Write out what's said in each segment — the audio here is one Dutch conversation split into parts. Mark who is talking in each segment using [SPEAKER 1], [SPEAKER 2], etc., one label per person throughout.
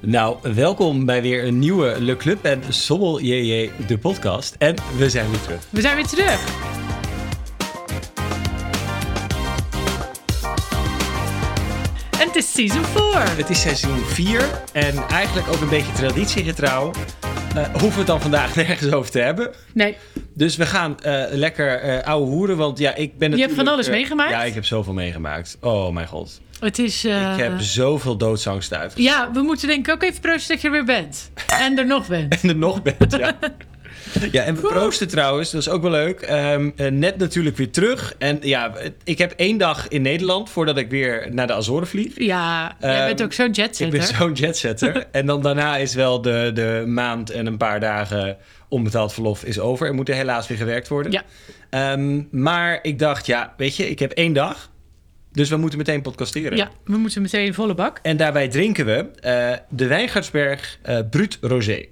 [SPEAKER 1] Nou, welkom bij weer een nieuwe Le Club en Sommel JJ, de podcast. En we zijn weer terug.
[SPEAKER 2] We zijn weer terug. En het is season 4.
[SPEAKER 1] Het is seizoen 4 en eigenlijk ook een beetje traditiegetrouw. eh, hoeven we het dan vandaag nergens over te hebben.
[SPEAKER 2] Nee,
[SPEAKER 1] Dus we gaan eh, lekker eh ouwe hoeren, want ja, ik ben
[SPEAKER 2] Je hebt van
[SPEAKER 1] natuurlijk,
[SPEAKER 2] alles
[SPEAKER 1] eh,
[SPEAKER 2] meegemaakt?
[SPEAKER 1] Ja, ik heb zoveel meegemaakt. Oh mijn god.
[SPEAKER 2] het is... eh,
[SPEAKER 1] Ik heb zoveel doodsangst uit.
[SPEAKER 2] Ja, we moeten denk ik ook even proosten dat je er weer bent. En er nog bent.
[SPEAKER 1] En er nog bent, ja. Ja, en we proosten trouwens, dat is ook wel leuk. Ehm, eh, net natuurlijk weer terug. En ja, ik heb één dag in Nederland voordat ik weer naar de Azoren vlieg.
[SPEAKER 2] Ja, jij
[SPEAKER 1] Ehm,
[SPEAKER 2] bent ook zo'n
[SPEAKER 1] Ik ben
[SPEAKER 2] jetsetter.
[SPEAKER 1] zo'n jetsetter. en dan daarna is wel de, de maand en een paar dagen onbetaald verlof is over. Er moet er helaas weer gewerkt worden.
[SPEAKER 2] Ja.
[SPEAKER 1] Ehm, maar ik dacht, ja, weet je, ik heb één dag. Dus we moeten meteen podcasteren.
[SPEAKER 2] Ja, we moeten meteen volle bak.
[SPEAKER 1] En daarbij drinken we eh, de Wijngaardsberg eh Brut Rosé.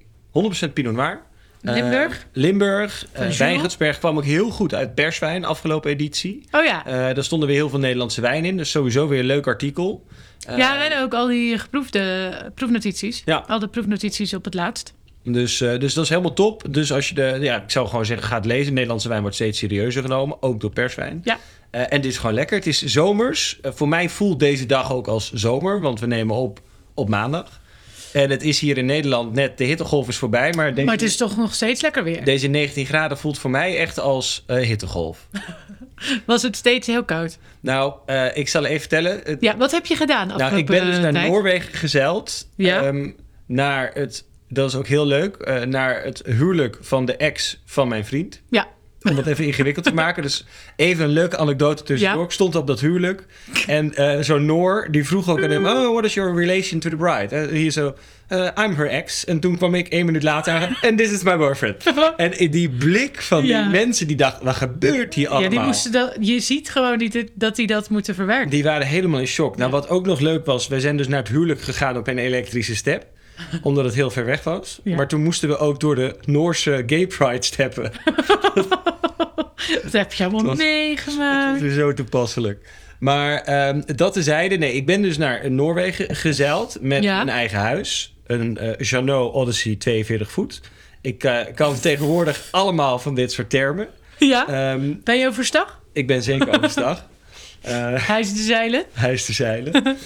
[SPEAKER 1] 100% Pinot Noir. Eh,
[SPEAKER 2] Limburg?
[SPEAKER 1] Limburg. Eh,
[SPEAKER 2] Jules?
[SPEAKER 1] Wijngaardsberg kwam ook heel goed uit perswijn afgelopen editie.
[SPEAKER 2] Oh ja,
[SPEAKER 1] Eh, daar stonden weer heel veel Nederlandse wijn in. Dus sowieso weer een leuk artikel. Eh,
[SPEAKER 2] ja en ook al die geproefde eh, proefnotities.
[SPEAKER 1] Ja.
[SPEAKER 2] Al de proefnotities op het laatst.
[SPEAKER 1] Dus, eh, dus dat is helemaal top. Dus als je de, ja, ik zou gewoon zeggen, ga het lezen. Nederlandse wijn wordt steeds serieuzer genomen, ook door perswijn.
[SPEAKER 2] Ja.
[SPEAKER 1] Eh, en dit is gewoon lekker. Het is zomers. Eh, voor mij voelt deze dag ook als zomer, want we nemen op op maandag. En het is hier in Nederland net, de hittegolf is voorbij, maar, deze,
[SPEAKER 2] Maar het is toch nog steeds lekker weer.
[SPEAKER 1] deze 19 graden voelt voor mij echt als eh, hittegolf.
[SPEAKER 2] Was het steeds heel koud.
[SPEAKER 1] Nou, eh, ik zal even vertellen. Het-
[SPEAKER 2] Ja, wat heb je gedaan afgelopen eh,
[SPEAKER 1] nou, ik ben dus naar
[SPEAKER 2] tijd?
[SPEAKER 1] Noorwegen gezeild.
[SPEAKER 2] Ja.
[SPEAKER 1] Ehm, naar het, dat is ook heel leuk, eh, naar het huwelijk van de ex van mijn vriend.
[SPEAKER 2] Ja,
[SPEAKER 1] Om dat even ingewikkeld te maken. Dus even een leuke anekdote tussendoor.
[SPEAKER 2] Ja.
[SPEAKER 1] Ik stond op dat huwelijk. En eh, zo'n Noor, die vroeg ook aan hem... Oh, what is your relation to the bride? En hier zo, eh, I'm her ex. En toen kwam ik één minuut later aan... And this is my boyfriend. en in die blik van
[SPEAKER 2] Ja.
[SPEAKER 1] die mensen die dachten... Wat gebeurt hier allemaal?
[SPEAKER 2] ja die moesten dat, je ziet gewoon niet dat- dat die dat moeten verwerken.
[SPEAKER 1] Die waren helemaal in shock. Nou, wat ook nog leuk was, wij zijn dus naar het huwelijk gegaan op een elektrische step. Omdat het heel ver weg was.
[SPEAKER 2] Ja.
[SPEAKER 1] Maar toen moesten we ook door de Noorse gay pride steppen.
[SPEAKER 2] Dat heb je allemaal
[SPEAKER 1] Het was-
[SPEAKER 2] meegemaakt.
[SPEAKER 1] Dat is zo toepasselijk. Maar ehm, dat tezijde, nee, ik ben dus naar Noorwegen gezeild met
[SPEAKER 2] Ja.
[SPEAKER 1] een eigen huis. Een eh Janot Odyssey 42 voet. Ik eh, kan tegenwoordig allemaal van dit soort termen.
[SPEAKER 2] Ja,
[SPEAKER 1] Ehm,
[SPEAKER 2] ben je overstag?
[SPEAKER 1] ik ben zeker overstag. Eh
[SPEAKER 2] Hij is de zeilen.
[SPEAKER 1] huis te zeilen.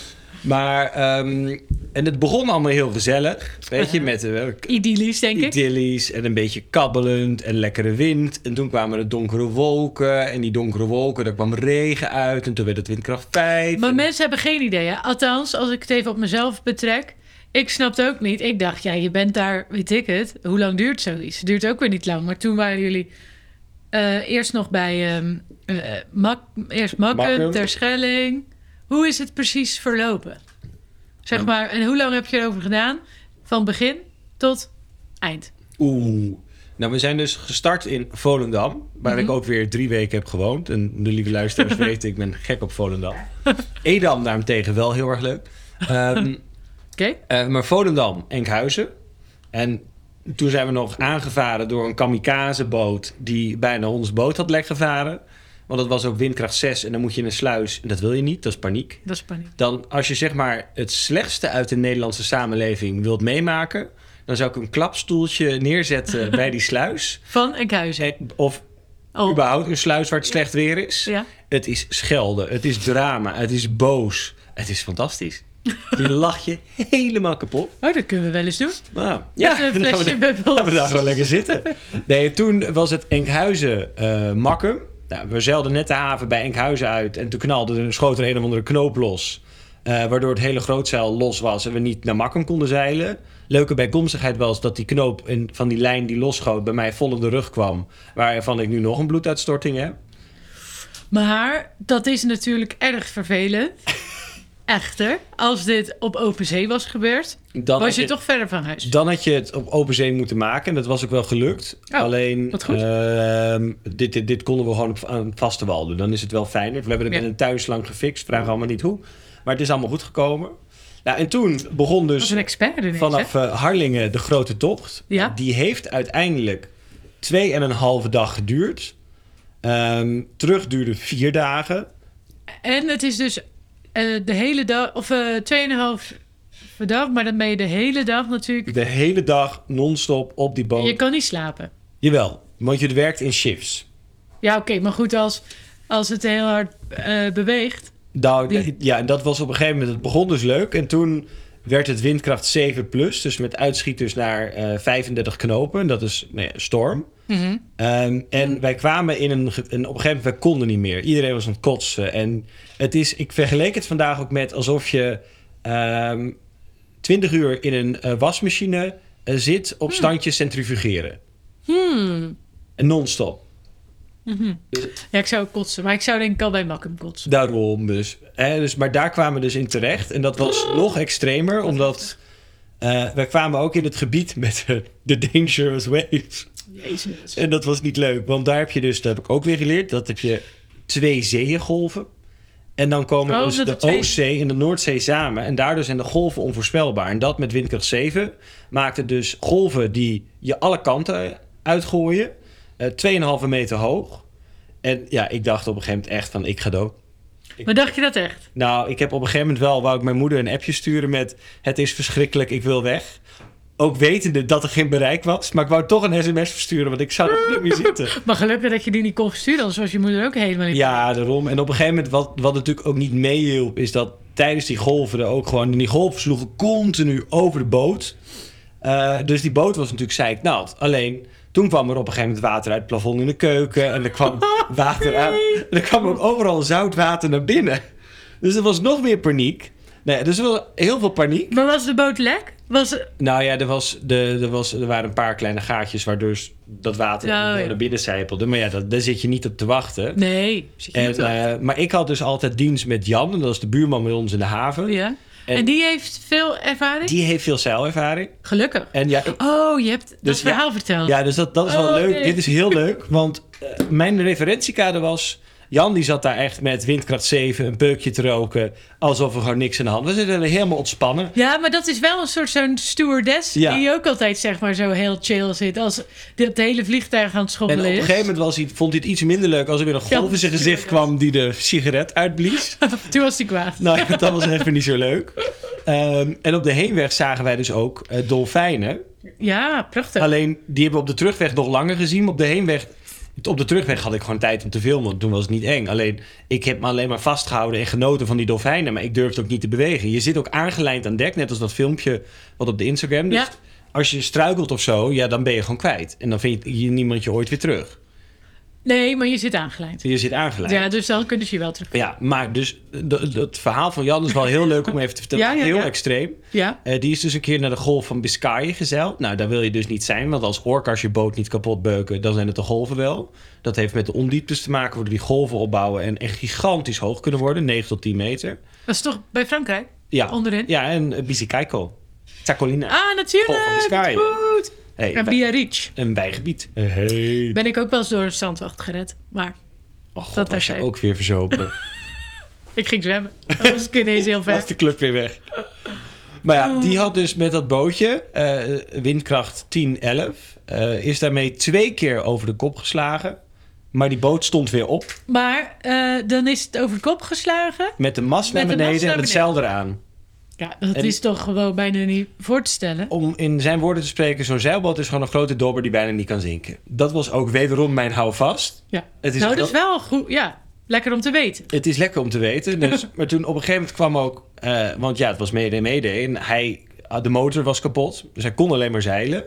[SPEAKER 1] Maar, ehm, en het begon allemaal heel gezellig. Weet je, met eh,
[SPEAKER 2] Idyllisch, denk ik.
[SPEAKER 1] idyllisch en een beetje kabbelend en lekkere wind. En toen kwamen de donkere wolken. En die donkere wolken, daar kwam regen uit. En toen werd het windkracht 5.
[SPEAKER 2] Maar mensen hebben geen idee. Hè? Althans, als ik het even op mezelf betrek. Ik snapte ook niet. Ik dacht, ja, je bent daar, weet ik het. Hoe lang duurt zoiets? Duurt ook weer niet lang. Maar toen waren jullie eh, eerst nog bij ehm eh, Mak, eerst Makken,
[SPEAKER 1] Makkum.
[SPEAKER 2] Terschelling. Hoe is het precies verlopen? Zeg maar, en hoe lang heb je erover gedaan? Van begin tot eind.
[SPEAKER 1] Oeh. Nou, we zijn dus gestart in Volendam, waar ik ook weer drie weken heb gewoond. En de lieve luisteraars weten, ik ben gek op Volendam. Edam daarentegen wel heel erg leuk. Ehm,
[SPEAKER 2] Oké?
[SPEAKER 1] Eh, maar Volendam, Enkhuizen. En toen zijn we nog aangevaren door een kamikazeboot... die bijna ons boot had lekgevaren. Want dat was ook windkracht 6 en dan moet je in een sluis. En dat wil je niet, dat is paniek.
[SPEAKER 2] Dat is paniek.
[SPEAKER 1] Dan als je zeg maar het slechtste uit de Nederlandse samenleving wilt meemaken... dan zou ik een klapstoeltje neerzetten bij die sluis.
[SPEAKER 2] Van Enkhuizen.
[SPEAKER 1] Eh, Of
[SPEAKER 2] Oh,
[SPEAKER 1] überhaupt een sluis waar het slecht weer is.
[SPEAKER 2] ja.
[SPEAKER 1] Het is schelden, het is drama, het is boos. Het is fantastisch. Die lach je helemaal kapot.
[SPEAKER 2] Oh, dat kunnen we wel eens doen.
[SPEAKER 1] Nou,
[SPEAKER 2] Ja,
[SPEAKER 1] ja,
[SPEAKER 2] Met
[SPEAKER 1] dan
[SPEAKER 2] een
[SPEAKER 1] gaan we,
[SPEAKER 2] flesje
[SPEAKER 1] daar-
[SPEAKER 2] bubbel.
[SPEAKER 1] gaan we daar gewoon lekker zitten. Nee, toen was het Enkhuizen eh Makkum. Nou, we zeilden net de haven bij Enkhuizen uit en toen knalde er, schoot er een of andere knoop los. eh, waardoor het hele grootzeil los was en we niet naar Makkum konden zeilen. Leuke bijkomstigheid was dat die knoop in, van die lijn die losschoot bij mij vol op de rug kwam. Waarvan ik nu nog een bloeduitstorting heb.
[SPEAKER 2] Maar dat is natuurlijk erg vervelend. Echter, als dit op open zee was gebeurd,
[SPEAKER 1] Dan Dus had
[SPEAKER 2] was je toch verder van huis.
[SPEAKER 1] Dan had je het op open zee moeten maken. En dat was ook wel gelukt.
[SPEAKER 2] Oh,
[SPEAKER 1] Alleen,
[SPEAKER 2] wat goed.
[SPEAKER 1] ehm, dit, dit, dit konden we gewoon op, aan het vaste wal doen. Dan is het wel fijner. We hebben het
[SPEAKER 2] Ja.
[SPEAKER 1] in een thuislang gefixt. Vraag allemaal niet hoe. Maar het is allemaal goed gekomen. Nou, en toen begon
[SPEAKER 2] Dat was
[SPEAKER 1] dus
[SPEAKER 2] een expert in
[SPEAKER 1] vanaf eh, Harlingen de grote tocht.
[SPEAKER 2] Ja.
[SPEAKER 1] Die heeft uiteindelijk twee en een halve dag geduurd. Ehm, terug duurde vier dagen.
[SPEAKER 2] En het is dus eh, de hele dag, of eh, 2,5 overdag, maar dan ben je de hele dag natuurlijk...
[SPEAKER 1] De hele dag non-stop op die boot.
[SPEAKER 2] Je kan niet slapen.
[SPEAKER 1] Jawel, want je werkt in shifts.
[SPEAKER 2] Ja, oké, maar goed, als, als het heel hard eh, beweegt...
[SPEAKER 1] Nou,
[SPEAKER 2] Die-
[SPEAKER 1] ja, en dat was op een gegeven moment. Het begon dus leuk. En toen werd het windkracht 7 plus. Dus met uitschieters naar eh 35 knopen. Dat is nou ja, storm. Ehm, en wij kwamen in een, ge- en op een gegeven moment, wij konden niet meer. Iedereen was aan het kotsen. En het is, ik vergeleek het vandaag ook met alsof je ehm 20 uur in een eh, wasmachine eh, zit op standjes centrifugeren. En non-stop.
[SPEAKER 2] Hmm. Ja, ik zou ook kotsen, maar ik zou denk ik al bij Makkum kotsen.
[SPEAKER 1] Daarom dus. Hè, dus. Maar daar kwamen we dus in terecht. En dat was nog extremer, omdat eh, wij kwamen ook in het gebied met de, de dangerous waves.
[SPEAKER 2] Jezus.
[SPEAKER 1] En dat was niet leuk, want daar heb je dus, dat heb ik ook weer geleerd, dat heb je twee zeeëngolven. En dan komen
[SPEAKER 2] Oh,
[SPEAKER 1] dus
[SPEAKER 2] dat
[SPEAKER 1] de
[SPEAKER 2] er twee-
[SPEAKER 1] Oostzee en de Noordzee samen. En daardoor zijn de golven onvoorspelbaar. En dat met windkracht 7 maakte dus golven die je alle kanten uitgooien. eh 2,5 meter hoog. En ja, ik dacht op een gegeven moment echt van, ik ga dood.
[SPEAKER 2] Maar dacht je dat echt?
[SPEAKER 1] Nou, ik heb op een gegeven moment wel, wou ik mijn moeder een appje sturen met... het is verschrikkelijk, ik wil weg. Ook wetende dat er geen bereik was. Maar ik wou toch een sms versturen, want ik zou er niet meer zitten.
[SPEAKER 2] Maar gelukkig dat je die niet kon versturen, anders was je moeder ook helemaal niet...
[SPEAKER 1] Ja, daarom. En op een gegeven moment, wat, wat natuurlijk ook niet meehielp... is dat tijdens die golven er ook gewoon... en die golven sloegen continu over de boot. Eh, dus die boot was natuurlijk zeiknat. Alleen, toen kwam er op een gegeven moment water uit het plafond in de keuken... en er kwam
[SPEAKER 2] Oh,
[SPEAKER 1] water uit... en er kwam ook overal zout water naar binnen. Dus er was nog meer paniek. Nee, dus er was heel veel paniek.
[SPEAKER 2] Maar was de boot lek? Was...
[SPEAKER 1] Nou ja, er, was, de, er, was, er waren een paar kleine gaatjes... waardoor dus dat water
[SPEAKER 2] Oh, ja.
[SPEAKER 1] naar binnen zijpelde. Maar ja, dat, daar zit je niet op te wachten.
[SPEAKER 2] Nee. Zit je
[SPEAKER 1] En,
[SPEAKER 2] niet op?
[SPEAKER 1] eh, maar ik had dus altijd dienst met Jan. En dat is de buurman bij ons in de haven.
[SPEAKER 2] Oh, ja. En, die heeft veel ervaring?
[SPEAKER 1] Die heeft veel zeilervaring.
[SPEAKER 2] Gelukkig.
[SPEAKER 1] En ja, ik-
[SPEAKER 2] Oh, je hebt dat
[SPEAKER 1] Dus ja.
[SPEAKER 2] verhaal verteld.
[SPEAKER 1] ja dus dat, dat is wel
[SPEAKER 2] Oh,
[SPEAKER 1] leuk.
[SPEAKER 2] nee.
[SPEAKER 1] Dit is heel leuk. Want eh, mijn referentiekader was... Jan die zat daar echt met windkracht 7, een peukje te roken. Alsof er gewoon niks aan de hand was. We zitten helemaal ontspannen.
[SPEAKER 2] Ja, maar dat is wel een soort zo'n stewardess
[SPEAKER 1] Ja.
[SPEAKER 2] die ook altijd zeg maar zo heel chill zit. Als dit hele vliegtuig aan het
[SPEAKER 1] En
[SPEAKER 2] schommelen
[SPEAKER 1] op een
[SPEAKER 2] is.
[SPEAKER 1] gegeven moment was hij, vond hij het iets minder leuk... als er weer een golf in zijn gezicht kwam die de sigaret uitblies.
[SPEAKER 2] Toen was hij kwaad.
[SPEAKER 1] Nou ja, dat was even niet zo leuk. Ehm, en op de heenweg zagen wij dus ook eh, dolfijnen.
[SPEAKER 2] Ja, prachtig.
[SPEAKER 1] Alleen, die hebben we op de terugweg nog langer gezien. Maar op de heenweg... Op de terugweg had ik gewoon tijd om te filmen. want Toen was het niet eng. Alleen, ik heb me alleen maar vastgehouden en genoten van die dolfijnen. Maar ik durfde ook niet te bewegen. Je zit ook aangelijnd aan dek. Net als dat filmpje wat op de Instagram. Dus
[SPEAKER 2] Ja.
[SPEAKER 1] als je struikelt of zo, ja, dan ben je gewoon kwijt. En dan vind je je- niemand je ooit weer terug.
[SPEAKER 2] Nee, maar je zit aangelijnd.
[SPEAKER 1] Je zit aangelijnd.
[SPEAKER 2] Ja, dus dan kunnen ze je wel terug.
[SPEAKER 1] Ja, maar dus d- dat verhaal van Jan is wel heel leuk om even te vertellen.
[SPEAKER 2] Ja, ja,
[SPEAKER 1] heel
[SPEAKER 2] ja.
[SPEAKER 1] extreem.
[SPEAKER 2] Ja.
[SPEAKER 1] Eh, die is dus een keer naar de golf van Biscayen gezeild. Nou, daar wil je dus niet zijn, want als orka's je boot niet kapot beuken, dan zijn het de golven wel. Dat heeft met de ondieptes te maken, waardoor die golven opbouwen en echt gigantisch hoog kunnen worden, 9 tot 10 meter.
[SPEAKER 2] Dat is toch bij Frankrijk?
[SPEAKER 1] Ja,
[SPEAKER 2] Onderin?
[SPEAKER 1] ja en uh, Bisicaiko. Tacolina.
[SPEAKER 2] Ah,
[SPEAKER 1] Golf van de
[SPEAKER 2] natuurlijk.
[SPEAKER 1] Sky.
[SPEAKER 2] Goed.
[SPEAKER 1] hey,
[SPEAKER 2] En
[SPEAKER 1] wij-
[SPEAKER 2] Biarritz.
[SPEAKER 1] een bijgebied. Hey.
[SPEAKER 2] Ben ik ook wel eens door een zandwacht gered. Maar
[SPEAKER 1] Oh god, was
[SPEAKER 2] dat
[SPEAKER 1] je
[SPEAKER 2] terzijde.
[SPEAKER 1] ook weer verzopen.
[SPEAKER 2] ik ging zwemmen. Dat was ik ineens heel
[SPEAKER 1] was
[SPEAKER 2] ver.
[SPEAKER 1] de club weer weg. Maar ja, die had dus met dat bootje, eh, windkracht 10, 11, eh, is daarmee twee keer over de kop geslagen. Maar die boot stond weer op
[SPEAKER 2] Maar eh, dan is het over de kop geslagen.
[SPEAKER 1] met de mast naar
[SPEAKER 2] Met de
[SPEAKER 1] beneden
[SPEAKER 2] mast naar
[SPEAKER 1] en het zeil eraan.
[SPEAKER 2] Ja, dat
[SPEAKER 1] En-
[SPEAKER 2] is toch gewoon bijna niet voor te stellen.
[SPEAKER 1] Om in zijn woorden te spreken, zo'n zeilboot is gewoon een grote dobber die bijna niet kan zinken. Dat was ook wederom mijn houvast.
[SPEAKER 2] Ja.
[SPEAKER 1] Het is
[SPEAKER 2] nou, dat
[SPEAKER 1] wel-
[SPEAKER 2] is wel goed. Ja, lekker om te weten.
[SPEAKER 1] Het is lekker om te weten. Dus, maar toen op een gegeven moment kwam ook... eh, want ja, het was mede mede. En hij, ah, de motor was kapot. Dus hij kon alleen maar zeilen.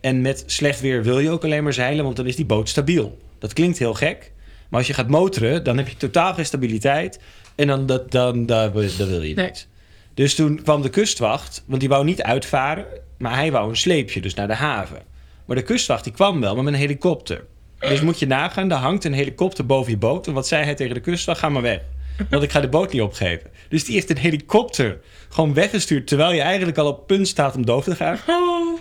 [SPEAKER 1] En met slecht weer wil je ook alleen maar zeilen... want dan is die boot stabiel. Dat klinkt heel gek. Maar als je gaat motoren, dan heb je totaal geen stabiliteit. En dan, dat, dan, dat, dat wil je
[SPEAKER 2] Nee.
[SPEAKER 1] niet. Dus toen kwam de kustwacht... want die wou niet uitvaren... maar hij wou een sleepje, dus naar de haven. Maar de kustwacht die kwam wel, maar met een helikopter. Dus moet je nagaan, daar hangt een helikopter boven je boot. En wat zei hij tegen de kustwacht? Ga maar weg. Want ik ga de boot niet opgeven. Dus die heeft een helikopter gewoon weggestuurd... terwijl je eigenlijk al op punt staat om doof te gaan.
[SPEAKER 2] Oh.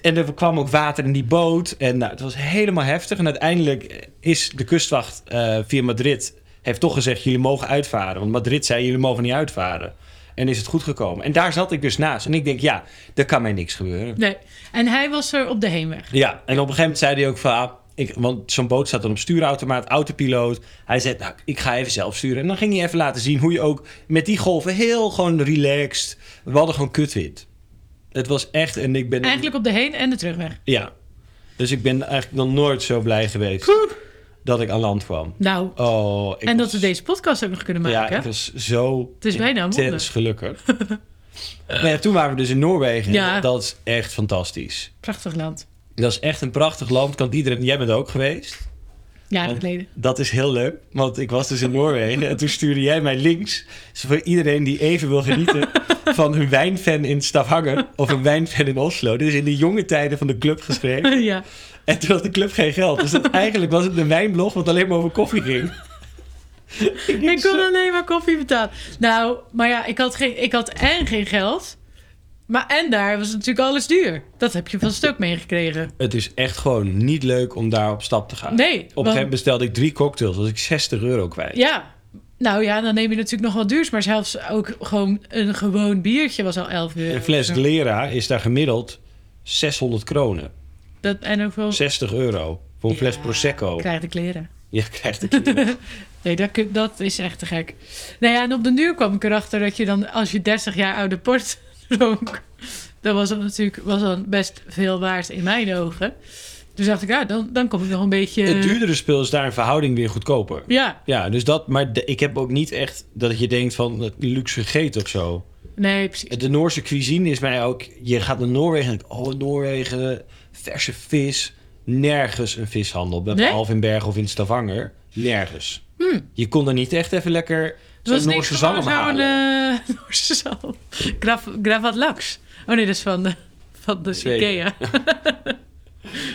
[SPEAKER 1] En er kwam ook water in die boot. En nou, het was helemaal heftig. En uiteindelijk is de kustwacht eh, via Madrid... heeft toch gezegd, jullie mogen uitvaren. Want Madrid zei, jullie mogen niet uitvaren. En is het goed gekomen. En daar zat ik dus naast. En ik denk, ja, er kan mij niks gebeuren.
[SPEAKER 2] Nee. En hij was er op de heenweg.
[SPEAKER 1] Ja, en op een gegeven moment zei hij ook van... ah, Ik, want zo'n boot staat dan op stuurautomaat, autopiloot. Hij zei, nou, ik ga even zelf sturen. En dan ging hij even laten zien hoe je ook met die golven heel gewoon relaxed... We hadden gewoon kutwit. Het was echt, en ik ben...
[SPEAKER 2] Eigenlijk op de heen- en de terugweg.
[SPEAKER 1] Ja. Dus ik ben eigenlijk nog nooit zo blij geweest dat ik aan land kwam.
[SPEAKER 2] Nou,
[SPEAKER 1] Oh, ik
[SPEAKER 2] en dat
[SPEAKER 1] was-
[SPEAKER 2] we deze podcast ook nog kunnen
[SPEAKER 1] Ja,
[SPEAKER 2] maken.
[SPEAKER 1] ik was zo
[SPEAKER 2] Het is bijna een wonder.
[SPEAKER 1] intens gelukkig. maar ja, toen waren we dus in Noorwegen.
[SPEAKER 2] Ja.
[SPEAKER 1] Dat is echt fantastisch.
[SPEAKER 2] Prachtig land.
[SPEAKER 1] Dat is echt een prachtig land. Kan iedereen... Jij bent ook geweest.
[SPEAKER 2] Jaren
[SPEAKER 1] Want-
[SPEAKER 2] geleden.
[SPEAKER 1] Dat is heel leuk, want ik was dus in Noorwegen en toen stuurde jij mij links. Dus voor iedereen die even wil genieten van een wijnfan in Stavanger of een wijnfan in Oslo. Dus in de jonge tijden van de club geschreven.
[SPEAKER 2] ja.
[SPEAKER 1] En toen had de club geen geld. Dus dat, eigenlijk was het een wijnblog wat alleen maar over koffie ging. ik
[SPEAKER 2] Ik
[SPEAKER 1] denk
[SPEAKER 2] kon
[SPEAKER 1] zo-
[SPEAKER 2] alleen maar koffie betalen. Nou, maar ja, ik had, geen, ik had en geen geld. Maar en daar was natuurlijk alles duur. Dat heb je van stuk meegekregen.
[SPEAKER 1] Het is echt gewoon niet leuk om daar op stap te gaan. Op
[SPEAKER 2] Nee.
[SPEAKER 1] een
[SPEAKER 2] want-
[SPEAKER 1] gegeven moment bestelde ik drie cocktails, was ik 60 euro kwijt.
[SPEAKER 2] Ja. Nou ja, dan neem je natuurlijk nog wat duurs. Maar zelfs ook gewoon een gewoon biertje was al 11 euro.
[SPEAKER 1] Een fles
[SPEAKER 2] Zo.
[SPEAKER 1] Glera is daar gemiddeld 600 kronen.
[SPEAKER 2] Dat, en ook wel
[SPEAKER 1] 60 euro voor een fles
[SPEAKER 2] Oh. Ja,
[SPEAKER 1] Prosecco.
[SPEAKER 2] krijg de kleren.
[SPEAKER 1] Je krijgt het hier.
[SPEAKER 2] Nee, dat, kun- dat is echt te gek. Nou ja, en op de duur kwam ik erachter dat je dan, als je 30 jaar oude port dronk, dat was dan natuurlijk was dan best veel waard in mijn ogen. Dus dacht ik, ja, dan, dan kom ik nog een beetje.
[SPEAKER 1] Het duurdere spul is daar in verhouding weer goedkoper.
[SPEAKER 2] Ja,
[SPEAKER 1] Ja, dus dat, maar de- ik heb ook niet echt dat je denkt van dat luxe gegeten of zo.
[SPEAKER 2] nee, precies.
[SPEAKER 1] Eh, De Noorse cuisine is mij ook. Je gaat naar Noorwegen en denkt: oh, Noorwegen, verse vis. Nergens een vishandel.
[SPEAKER 2] Nee?
[SPEAKER 1] Behalve in Bergen of in Stavanger. Nergens. Je kon er niet echt even lekker
[SPEAKER 2] Het
[SPEAKER 1] zo'n
[SPEAKER 2] was Dus niks
[SPEAKER 1] Noorse
[SPEAKER 2] gewoon
[SPEAKER 1] zalm
[SPEAKER 2] zo'n
[SPEAKER 1] halen.
[SPEAKER 2] eh, Noorse zalm. Graf, gravat laks. Oh nee, dat is van de, van de
[SPEAKER 1] Zweden.
[SPEAKER 2] Ikea.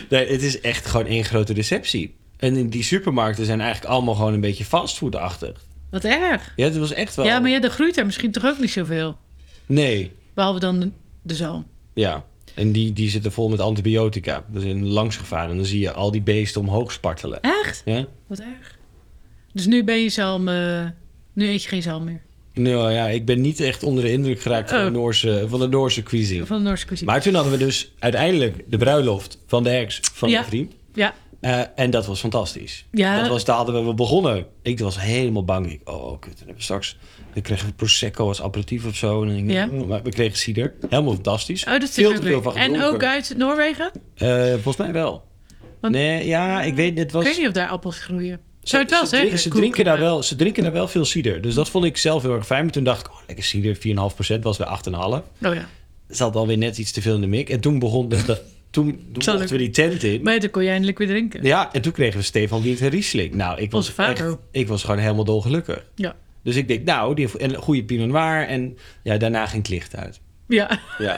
[SPEAKER 1] Nee, het is echt gewoon één grote receptie. En in die supermarkten zijn eigenlijk allemaal gewoon een beetje fastfoodachtig.
[SPEAKER 2] Wat erg.
[SPEAKER 1] Ja, het was echt wel.
[SPEAKER 2] Ja, maar ja, er groeit er misschien toch ook niet zoveel.
[SPEAKER 1] Nee,
[SPEAKER 2] Behalve dan de, de zalm.
[SPEAKER 1] ja. En die, die zitten vol met antibiotica. Dus in langsgevaar. En dan zie je al die beesten omhoog spartelen.
[SPEAKER 2] Echt?
[SPEAKER 1] Ja?
[SPEAKER 2] Wat erg. Dus nu ben je zalm... eh, nu eet je geen zalm meer.
[SPEAKER 1] Nou ja, ik ben niet echt onder de indruk geraakt van, de
[SPEAKER 2] Oh.
[SPEAKER 1] Noorse, van de Noorse cuisine.
[SPEAKER 2] Van de Noorse cuisine.
[SPEAKER 1] Maar toen hadden we dus uiteindelijk de bruiloft van de heks van
[SPEAKER 2] Ja.
[SPEAKER 1] mijn vriend.
[SPEAKER 2] Ja.
[SPEAKER 1] Eh, en dat was fantastisch.
[SPEAKER 2] Ja.
[SPEAKER 1] Dat was, daar hadden we begonnen. Ik was helemaal bang. Ik, oh, kut. En hebben we straks, dan kregen we Prosecco als aperitief of zo. En dan denk ik,
[SPEAKER 2] Ja.
[SPEAKER 1] mm, maar we kregen cider. Helemaal fantastisch.
[SPEAKER 2] Oh, dat is
[SPEAKER 1] Veel
[SPEAKER 2] ook
[SPEAKER 1] te
[SPEAKER 2] leuk.
[SPEAKER 1] veel van
[SPEAKER 2] En
[SPEAKER 1] gedronken.
[SPEAKER 2] ook uit Noorwegen?
[SPEAKER 1] Eh, volgens mij wel.
[SPEAKER 2] Want-
[SPEAKER 1] nee, ja, ik weet het was...
[SPEAKER 2] Ik weet niet of daar appels groeien. Zou je het wel
[SPEAKER 1] ze,
[SPEAKER 2] zeggen?
[SPEAKER 1] Drinken, ze,
[SPEAKER 2] Koek.
[SPEAKER 1] drinken daar wel, ze drinken daar wel veel cider. Dus dat vond ik zelf heel erg fijn. Maar toen dacht ik, oh, lekker cider, 4,5% was weer 8,5%.
[SPEAKER 2] Oh ja.
[SPEAKER 1] zat alweer net iets te veel in de mik. En toen begon de, de- toen, toen
[SPEAKER 2] Zal
[SPEAKER 1] mochten we die tent in.
[SPEAKER 2] Maar ja, dan kon je eindelijk weer drinken.
[SPEAKER 1] Ja, en toen kregen we Stefan Wiet en Riesling. Nou, ik was,
[SPEAKER 2] Onze vader
[SPEAKER 1] echt,
[SPEAKER 2] ook.
[SPEAKER 1] ik was gewoon helemaal dolgelukkig.
[SPEAKER 2] Ja.
[SPEAKER 1] Dus ik denk, nou, die heeft een goede Pinot Noir. En ja, daarna ging het licht uit.
[SPEAKER 2] Ja.
[SPEAKER 1] Ja.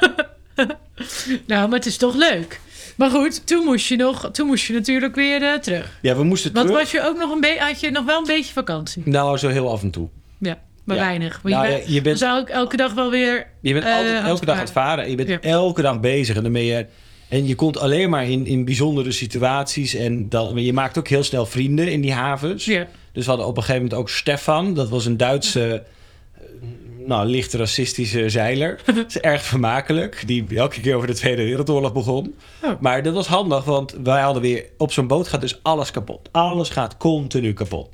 [SPEAKER 2] Nou, maar het is toch leuk. Maar goed, toen moest je, nog, toen moest je natuurlijk weer eh, terug.
[SPEAKER 1] ja, we moesten
[SPEAKER 2] Want
[SPEAKER 1] terug.
[SPEAKER 2] was je ook nog een beetje... Had je nog wel een beetje vakantie?
[SPEAKER 1] Nou, zo heel af en toe.
[SPEAKER 2] Ja. Maar
[SPEAKER 1] Ja.
[SPEAKER 2] weinig. Maar
[SPEAKER 1] Nou,
[SPEAKER 2] je,
[SPEAKER 1] ja,
[SPEAKER 2] bent,
[SPEAKER 1] je bent-
[SPEAKER 2] zou ik elke dag wel weer...
[SPEAKER 1] Je bent
[SPEAKER 2] Eh,
[SPEAKER 1] altijd elke dag
[SPEAKER 2] handvaren.
[SPEAKER 1] aan het varen. Je bent
[SPEAKER 2] Ja.
[SPEAKER 1] elke dag bezig. En dan ben je... En je komt alleen maar in, in bijzondere situaties. En dan, je maakt ook heel snel vrienden in die havens.
[SPEAKER 2] Ja.
[SPEAKER 1] Dus we hadden op een gegeven moment ook Stefan. Dat was een Duitse, eh, nou, licht racistische zeiler. Dat is erg vermakelijk. Die elke keer over de Tweede Wereldoorlog begon.
[SPEAKER 2] Oh.
[SPEAKER 1] Maar dat was handig, want wij hadden weer... Op zo'n boot gaat dus alles kapot. Alles gaat continu kapot.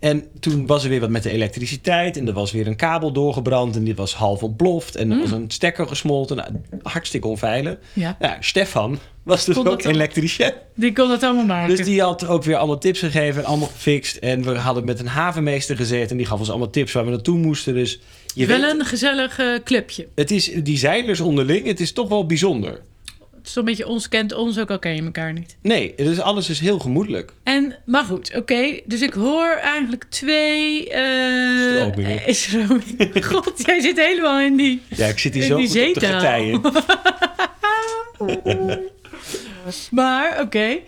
[SPEAKER 1] En toen was er weer wat met de elektriciteit. En er was weer een kabel doorgebrand. En dit was half ontploft. En er was
[SPEAKER 2] Hmm.
[SPEAKER 1] een stekker gesmolten. Nou, hartstikke onveilig.
[SPEAKER 2] Ja.
[SPEAKER 1] Ja, Stefan was dus
[SPEAKER 2] Kon dat
[SPEAKER 1] ook
[SPEAKER 2] dan?
[SPEAKER 1] elektricien.
[SPEAKER 2] Die kon dat allemaal maken.
[SPEAKER 1] Dus die had ook weer allemaal tips gegeven en allemaal gefixt. En we hadden met een havenmeester gezeten en die gaf ons allemaal tips waar we naartoe moesten. Dus je
[SPEAKER 2] wel
[SPEAKER 1] weet,
[SPEAKER 2] een gezellig eh, clubje.
[SPEAKER 1] het is die zeilers onderling, het is toch wel bijzonder.
[SPEAKER 2] Het is toch een beetje ons kent ons, ook al ken je elkaar niet.
[SPEAKER 1] Nee, het is, alles is heel gemoedelijk.
[SPEAKER 2] En, maar goed, oké. dus ik hoor eigenlijk twee... eh,
[SPEAKER 1] Stromingen.
[SPEAKER 2] eh, stromingen. God, jij zit helemaal in die...
[SPEAKER 1] Ja, ik zit hier
[SPEAKER 2] In
[SPEAKER 1] zo
[SPEAKER 2] die
[SPEAKER 1] goed op de
[SPEAKER 2] zeetaal.
[SPEAKER 1] getijen.
[SPEAKER 2] Maar, oké.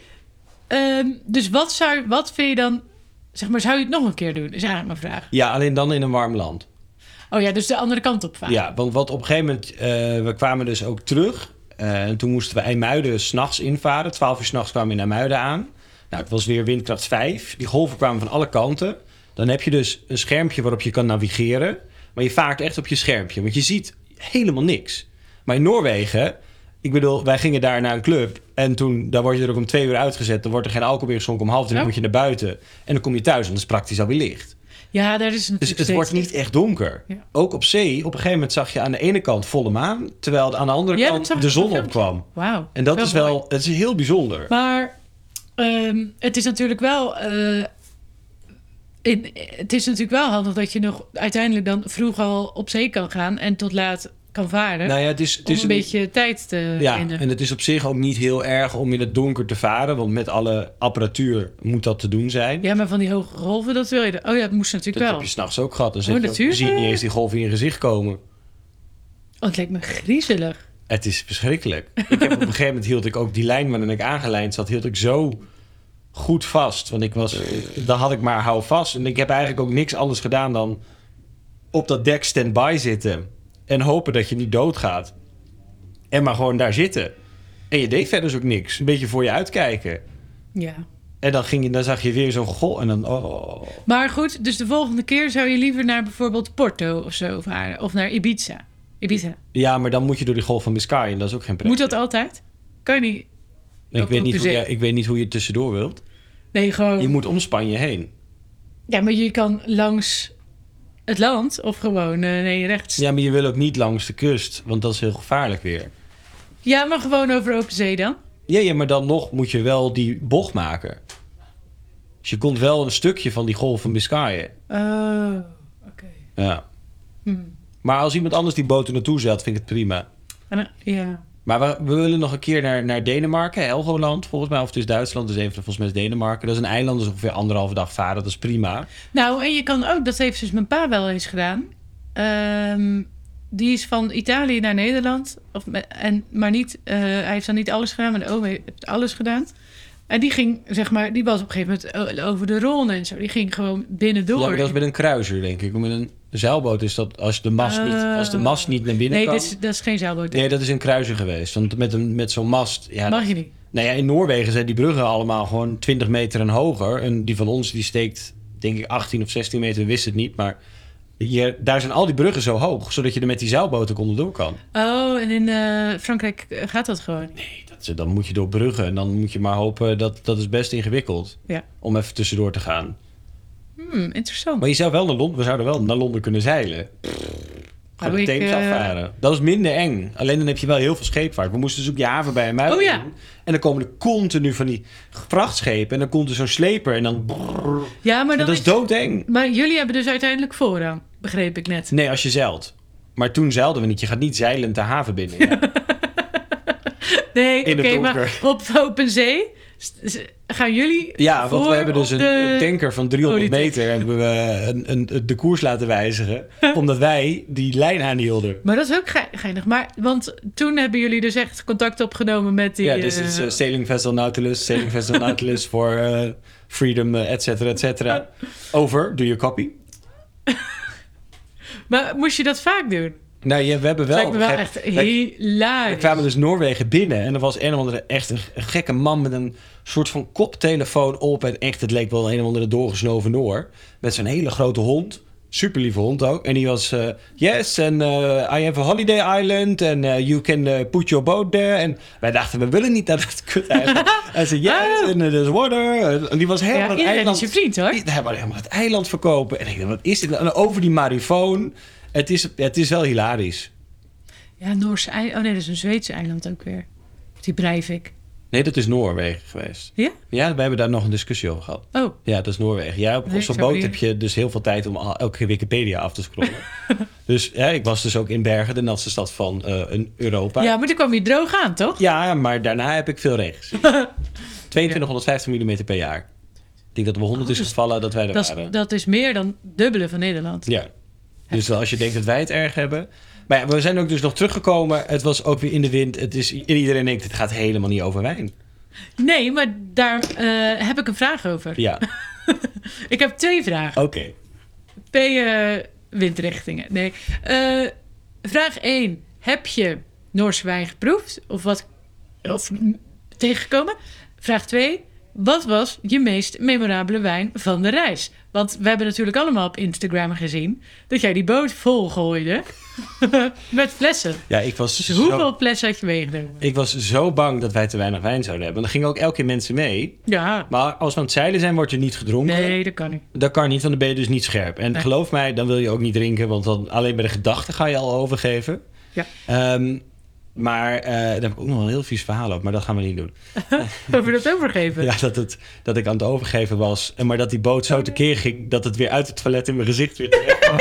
[SPEAKER 2] Ehm, dus wat, zou, wat vind je dan... Zeg maar, zou je het nog een keer doen? Is eigenlijk mijn vraag.
[SPEAKER 1] Ja, alleen dan in een warm land.
[SPEAKER 2] Oh ja, dus de andere kant op varen.
[SPEAKER 1] Ja, want wat op een gegeven moment, eh, we kwamen dus ook terug. Eh, en toen moesten we IJmuiden s'nachts invaren. 12 uur s'nachts kwamen we in IJmuiden aan. Nou, het was weer windkracht 5. Die golven kwamen van alle kanten. Dan heb je dus een schermpje waarop je kan navigeren. Maar je vaart echt op je schermpje, want je ziet helemaal niks. Maar in Noorwegen Ik bedoel, wij gingen daar naar een club. En toen, daar word je er ook om twee uur uitgezet. Dan wordt er geen alcohol meer geschonken om half drie.
[SPEAKER 2] Ja.
[SPEAKER 1] moet je naar buiten. En dan kom je thuis en dat is praktisch alweer licht.
[SPEAKER 2] Ja, daar is natuurlijk
[SPEAKER 1] Dus het
[SPEAKER 2] steeds-
[SPEAKER 1] wordt niet echt donker.
[SPEAKER 2] Ja.
[SPEAKER 1] Ook op zee, op een gegeven moment zag je aan de ene kant volle maan. Terwijl aan de andere
[SPEAKER 2] Ja, dat zag
[SPEAKER 1] kant
[SPEAKER 2] ik
[SPEAKER 1] de
[SPEAKER 2] op
[SPEAKER 1] zon
[SPEAKER 2] een filmpje.
[SPEAKER 1] opkwam.
[SPEAKER 2] Wauw.
[SPEAKER 1] En dat is
[SPEAKER 2] mooi.
[SPEAKER 1] wel, het is heel bijzonder.
[SPEAKER 2] Maar ehm, het is natuurlijk wel. eh, in, het is natuurlijk wel handig dat je nog uiteindelijk dan vroeg al op zee kan gaan en tot laat kan varen.
[SPEAKER 1] nou ja, het is, het
[SPEAKER 2] om
[SPEAKER 1] is
[SPEAKER 2] een beetje tijd te
[SPEAKER 1] Ja,
[SPEAKER 2] vinden.
[SPEAKER 1] en het is op zich ook niet heel erg om in het donker te varen. Want met alle apparatuur moet dat te doen zijn.
[SPEAKER 2] Ja, maar van die hoge golven, dat wil je. dan- Oh ja, dat moest
[SPEAKER 1] Dat
[SPEAKER 2] natuurlijk
[SPEAKER 1] heb
[SPEAKER 2] wel.
[SPEAKER 1] je s'nachts ook gehad. Dan
[SPEAKER 2] Oh,
[SPEAKER 1] zit je,
[SPEAKER 2] natuurlijk.
[SPEAKER 1] zie je niet eens die golven in je gezicht komen.
[SPEAKER 2] Oh, het lijkt me griezelig.
[SPEAKER 1] Het is verschrikkelijk. Ik heb op een gegeven moment hield ik ook die lijn waarin ik aangelijnd zat, hield ik zo goed vast. Want ik was, dan had ik maar hou vast. En ik heb eigenlijk ook niks anders gedaan dan op dat dek stand-by zitten. En hopen dat je niet doodgaat. En maar gewoon daar zitten. En je deed verder dus ook niks. Een beetje voor je uitkijken.
[SPEAKER 2] Ja.
[SPEAKER 1] En dan, ging je, dan zag je weer zo'n gol. En dan, oh.
[SPEAKER 2] Maar goed, dus de volgende keer zou je liever naar bijvoorbeeld Porto of zo varen. Of naar Ibiza. Ibiza.
[SPEAKER 1] Ja, maar dan moet je door die golf van Biscay. En dat is ook geen
[SPEAKER 2] Moet
[SPEAKER 1] pretje.
[SPEAKER 2] dat altijd? Kan je niet.
[SPEAKER 1] ik,
[SPEAKER 2] ook
[SPEAKER 1] weet
[SPEAKER 2] op
[SPEAKER 1] niet
[SPEAKER 2] de
[SPEAKER 1] hoe,
[SPEAKER 2] zee?
[SPEAKER 1] ja, ik weet niet hoe je tussendoor wilt.
[SPEAKER 2] Nee, gewoon.
[SPEAKER 1] Je moet om Spanje heen.
[SPEAKER 2] Ja, maar je kan langs het land of gewoon eh, nee, rechts. Ja.
[SPEAKER 1] Ja, maar je wil ook niet langs de kust, want dat is heel gevaarlijk weer.
[SPEAKER 2] maar gewoon over open zee dan.
[SPEAKER 1] Ja, ja, maar dan nog moet je wel die bocht maken. Dus je komt wel een stukje van die golf van Biscayen.
[SPEAKER 2] Oh, oké.
[SPEAKER 1] Ja.
[SPEAKER 2] Hm.
[SPEAKER 1] Maar als iemand anders die boot er naartoe zet, vind ik het prima.
[SPEAKER 2] En dan- Ja.
[SPEAKER 1] Maar we, we willen nog een keer naar, naar Denemarken, Helgoland volgens mij. Of het is Duitsland, dus even volgens mij is Denemarken. Dat is een eiland, dus ongeveer anderhalve dag varen. Dat is prima.
[SPEAKER 2] Nou, en je kan ook, dat heeft dus mijn pa wel eens gedaan. Ehm, die is van Italië naar Nederland. Of, me- en, maar niet, eh, hij heeft dan niet alles gedaan, maar de oom heeft alles gedaan. En die ging, zeg maar, die was op een gegeven moment o- over de Rhône en zo. Die ging gewoon binnendoor.
[SPEAKER 1] Ja, maar dat is met een kruiser, denk ik. Met een zeilboot is dat als de mast, niet,
[SPEAKER 2] Ah.
[SPEAKER 1] als de mast niet naar binnen
[SPEAKER 2] nee,
[SPEAKER 1] kan.
[SPEAKER 2] dit is, dat is geen zeilboot.
[SPEAKER 1] Nee, dat is een kruiser geweest. Want met, een, met zo'n mast... Ja,
[SPEAKER 2] Mag je niet.
[SPEAKER 1] Nou ja, in Noorwegen zijn die bruggen allemaal gewoon 20 meter en hoger. En die van ons die steekt, denk ik, 18 of 16 meter, wist het niet. Maar hier, daar zijn al die bruggen zo hoog, zodat je er met die zeilboten onderdoor kan.
[SPEAKER 2] Oh, en in eh, Frankrijk eh, gaat dat gewoon niet.
[SPEAKER 1] Nee, dat, is- dan moet je door bruggen en dan moet je maar hopen dat dat is best ingewikkeld
[SPEAKER 2] Ja.
[SPEAKER 1] om even tussendoor te gaan.
[SPEAKER 2] Hmm, interessant.
[SPEAKER 1] Maar je zou wel naar Londen, we zouden wel naar Londen kunnen zeilen. Gewoon de
[SPEAKER 2] ik,
[SPEAKER 1] Theems
[SPEAKER 2] eh,
[SPEAKER 1] afvaren. Dat is minder eng. Alleen dan heb je wel heel veel scheepvaart. We moesten dus ook die haven bij hem uit.
[SPEAKER 2] Oh ja.
[SPEAKER 1] in. En dan komen er continu van die vrachtschepen. En dan komt er zo'n sleper. En dan...
[SPEAKER 2] Ja, maar,
[SPEAKER 1] En
[SPEAKER 2] dan
[SPEAKER 1] dat is
[SPEAKER 2] is-
[SPEAKER 1] doodeng.
[SPEAKER 2] maar jullie hebben dus uiteindelijk voorrang, begreep ik net.
[SPEAKER 1] Nee, als je zeilt. Maar toen zeilden we niet. Je gaat niet zeilend de haven binnen. Ja.
[SPEAKER 2] Nee,
[SPEAKER 1] In
[SPEAKER 2] oké,
[SPEAKER 1] het
[SPEAKER 2] maar
[SPEAKER 1] donker.
[SPEAKER 2] op open zee s- s- gaan jullie
[SPEAKER 1] Ja, want
[SPEAKER 2] voor
[SPEAKER 1] we hebben dus een
[SPEAKER 2] op de-
[SPEAKER 1] tanker van 300
[SPEAKER 2] Oh, die
[SPEAKER 1] meter... hebben we eh, een, een, de koers laten wijzigen. omdat wij die lijn aanhielden.
[SPEAKER 2] Maar dat is ook ge- geinig. Maar, want toen hebben jullie dus echt contact opgenomen met die...
[SPEAKER 1] Ja, dus het
[SPEAKER 2] eh,
[SPEAKER 1] is eh, Sailing Vessel Nautilus, Sailing Vessel Nautilus voor eh, Freedom, eh, et cetera, et cetera. Over, doe je copy.
[SPEAKER 2] Maar moest je dat vaak doen?
[SPEAKER 1] Nou, ja, we hebben wel...
[SPEAKER 2] lijkt me wel
[SPEAKER 1] op een
[SPEAKER 2] echt
[SPEAKER 1] gegeven- Wij- We
[SPEAKER 2] hilarisch.
[SPEAKER 1] kwamen dus Noorwegen binnen en er was een of andere echt een, een gekke man met een soort van koptelefoon op. En echt, het leek wel een of andere doorgesnoven Noor. Met zo'n hele grote hond. Super lieve hond ook. En die was, eh, yes, and eh, I have a holiday island and eh, you can eh, put your boat there. En wij dachten, we willen niet naar dat kut eiland. en ze, yes, and there's water. En die was helemaal
[SPEAKER 2] Oh. Ja,
[SPEAKER 1] het
[SPEAKER 2] iedereen is
[SPEAKER 1] eiland
[SPEAKER 2] je vriend, hoor.
[SPEAKER 1] die- Hij wou helemaal het eiland verkopen. En ik dacht, wat is dit? nou? En over die marifoon. Het is, het is wel hilarisch.
[SPEAKER 2] Ja, Noorse eiland. Oh nee, dat is een Zweedse eiland ook weer. Die Breivik.
[SPEAKER 1] Nee, dat is Noorwegen geweest.
[SPEAKER 2] Ja?
[SPEAKER 1] Ja, we hebben daar nog een discussie over gehad.
[SPEAKER 2] Oh,
[SPEAKER 1] Ja, dat is Noorwegen. Ja, op
[SPEAKER 2] Nee,
[SPEAKER 1] zo'n
[SPEAKER 2] ik zou
[SPEAKER 1] boot heb
[SPEAKER 2] hier-
[SPEAKER 1] je dus heel veel tijd om al- elke keer Wikipedia af te scrollen. dus ja, ik was dus ook in Bergen, de natste stad van eh, een Europa.
[SPEAKER 2] ja, maar toen kwam je droog aan, toch?
[SPEAKER 1] Ja, maar daarna heb ik veel regen gezien. 2250 mm per jaar. Ik denk dat er wel 100 is gevallen dat wij er
[SPEAKER 2] Oh, dus Dat
[SPEAKER 1] waren.
[SPEAKER 2] is, dat is meer dan dubbele van Nederland.
[SPEAKER 1] Ja. Dus wel als je denkt dat wij het erg hebben. Maar ja, we zijn ook dus nog teruggekomen. Het was ook weer in de wind. Het is, en iedereen denkt, het gaat helemaal niet over wijn.
[SPEAKER 2] Nee, maar daar eh, heb ik een vraag over.
[SPEAKER 1] Ja,
[SPEAKER 2] Ik heb twee vragen.
[SPEAKER 1] oké.
[SPEAKER 2] P eh, windrichtingen. Nee. Eh, vraag 1. Heb je Noorse wijn geproefd? Of wat? Of m- tegengekomen? Vraag 2. Wat was je meest memorabele wijn van de reis? Want we hebben natuurlijk allemaal op Instagram gezien dat jij die boot vol gooide met flessen.
[SPEAKER 1] Ja, ik was
[SPEAKER 2] Dus
[SPEAKER 1] zo-
[SPEAKER 2] hoeveel flessen had je meegenomen?
[SPEAKER 1] Ik was zo bang dat wij te weinig wijn zouden hebben. Er gingen ook elke keer mensen mee.
[SPEAKER 2] Ja,
[SPEAKER 1] Maar als we aan het zeilen zijn, wordt je niet gedronken.
[SPEAKER 2] nee, dat kan niet.
[SPEAKER 1] Dat kan niet, want dan ben je dus niet scherp. En
[SPEAKER 2] Nee.
[SPEAKER 1] geloof mij, dan wil je ook niet drinken, want dan alleen bij de gedachten ga je al overgeven.
[SPEAKER 2] Ja.
[SPEAKER 1] Ehm, maar eh, daar heb ik ook nog wel een heel vies verhaal op, maar dat gaan we niet doen.
[SPEAKER 2] Over dat overgeven.
[SPEAKER 1] Ja, dat, het, dat ik aan het overgeven was, en maar dat die boot zo tekeer ging dat het weer uit het toilet in mijn gezicht weer terecht kwam.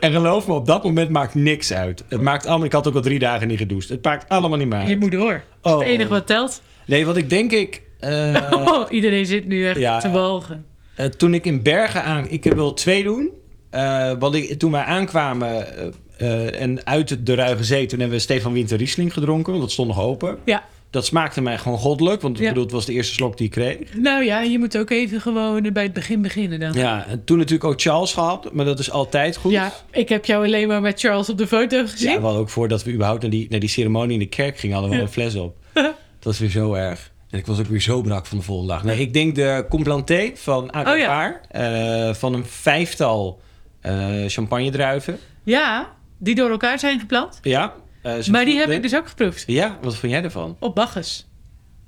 [SPEAKER 1] en geloof me, op dat moment maakt niks uit. Het maakt allemaal, ik had ook al drie dagen niet gedoucht. Het maakt allemaal niet meer
[SPEAKER 2] Je
[SPEAKER 1] uit.
[SPEAKER 2] moet door. Dat is
[SPEAKER 1] Oh.
[SPEAKER 2] het enige wat telt.
[SPEAKER 1] Nee, wat ik denk ik. eh,
[SPEAKER 2] Oh, iedereen zit nu echt
[SPEAKER 1] ja.
[SPEAKER 2] te walgen.
[SPEAKER 1] eh, toen ik in Bergen aan. Ik wil twee doen. Eh, want ik, toen wij aankwamen. eh, eh, en uit de Ruige Zee. toen hebben we Stefan Winter Riesling gedronken. Want dat stond nog open.
[SPEAKER 2] Ja.
[SPEAKER 1] Dat smaakte mij gewoon goddelijk. Want ik
[SPEAKER 2] Ja.
[SPEAKER 1] bedoel, het was de eerste slok die ik kreeg.
[SPEAKER 2] Nou ja, je moet ook even gewoon bij het begin beginnen dan.
[SPEAKER 1] Ja, en toen natuurlijk ook Charles gehad. Maar dat is altijd goed.
[SPEAKER 2] Ja, ik heb jou alleen maar met Charles op de foto gezien.
[SPEAKER 1] Ja, wel ook voordat we überhaupt naar die, naar die ceremonie in de kerk gingen, hadden we al een fles op. Dat was weer zo erg. En ik was ook weer zo brak van de volgende dag. Nee, ik denk de Complanté van Aqua
[SPEAKER 2] Oh ja.
[SPEAKER 1] eh, van een vijftal champagne champagnedruiven.
[SPEAKER 2] Ja, die door elkaar zijn geplant.
[SPEAKER 1] Ja. eh, ze-
[SPEAKER 2] Maar die heb ik dus ook geproefd.
[SPEAKER 1] Ja, wat vond jij ervan?
[SPEAKER 2] Op Bacchus.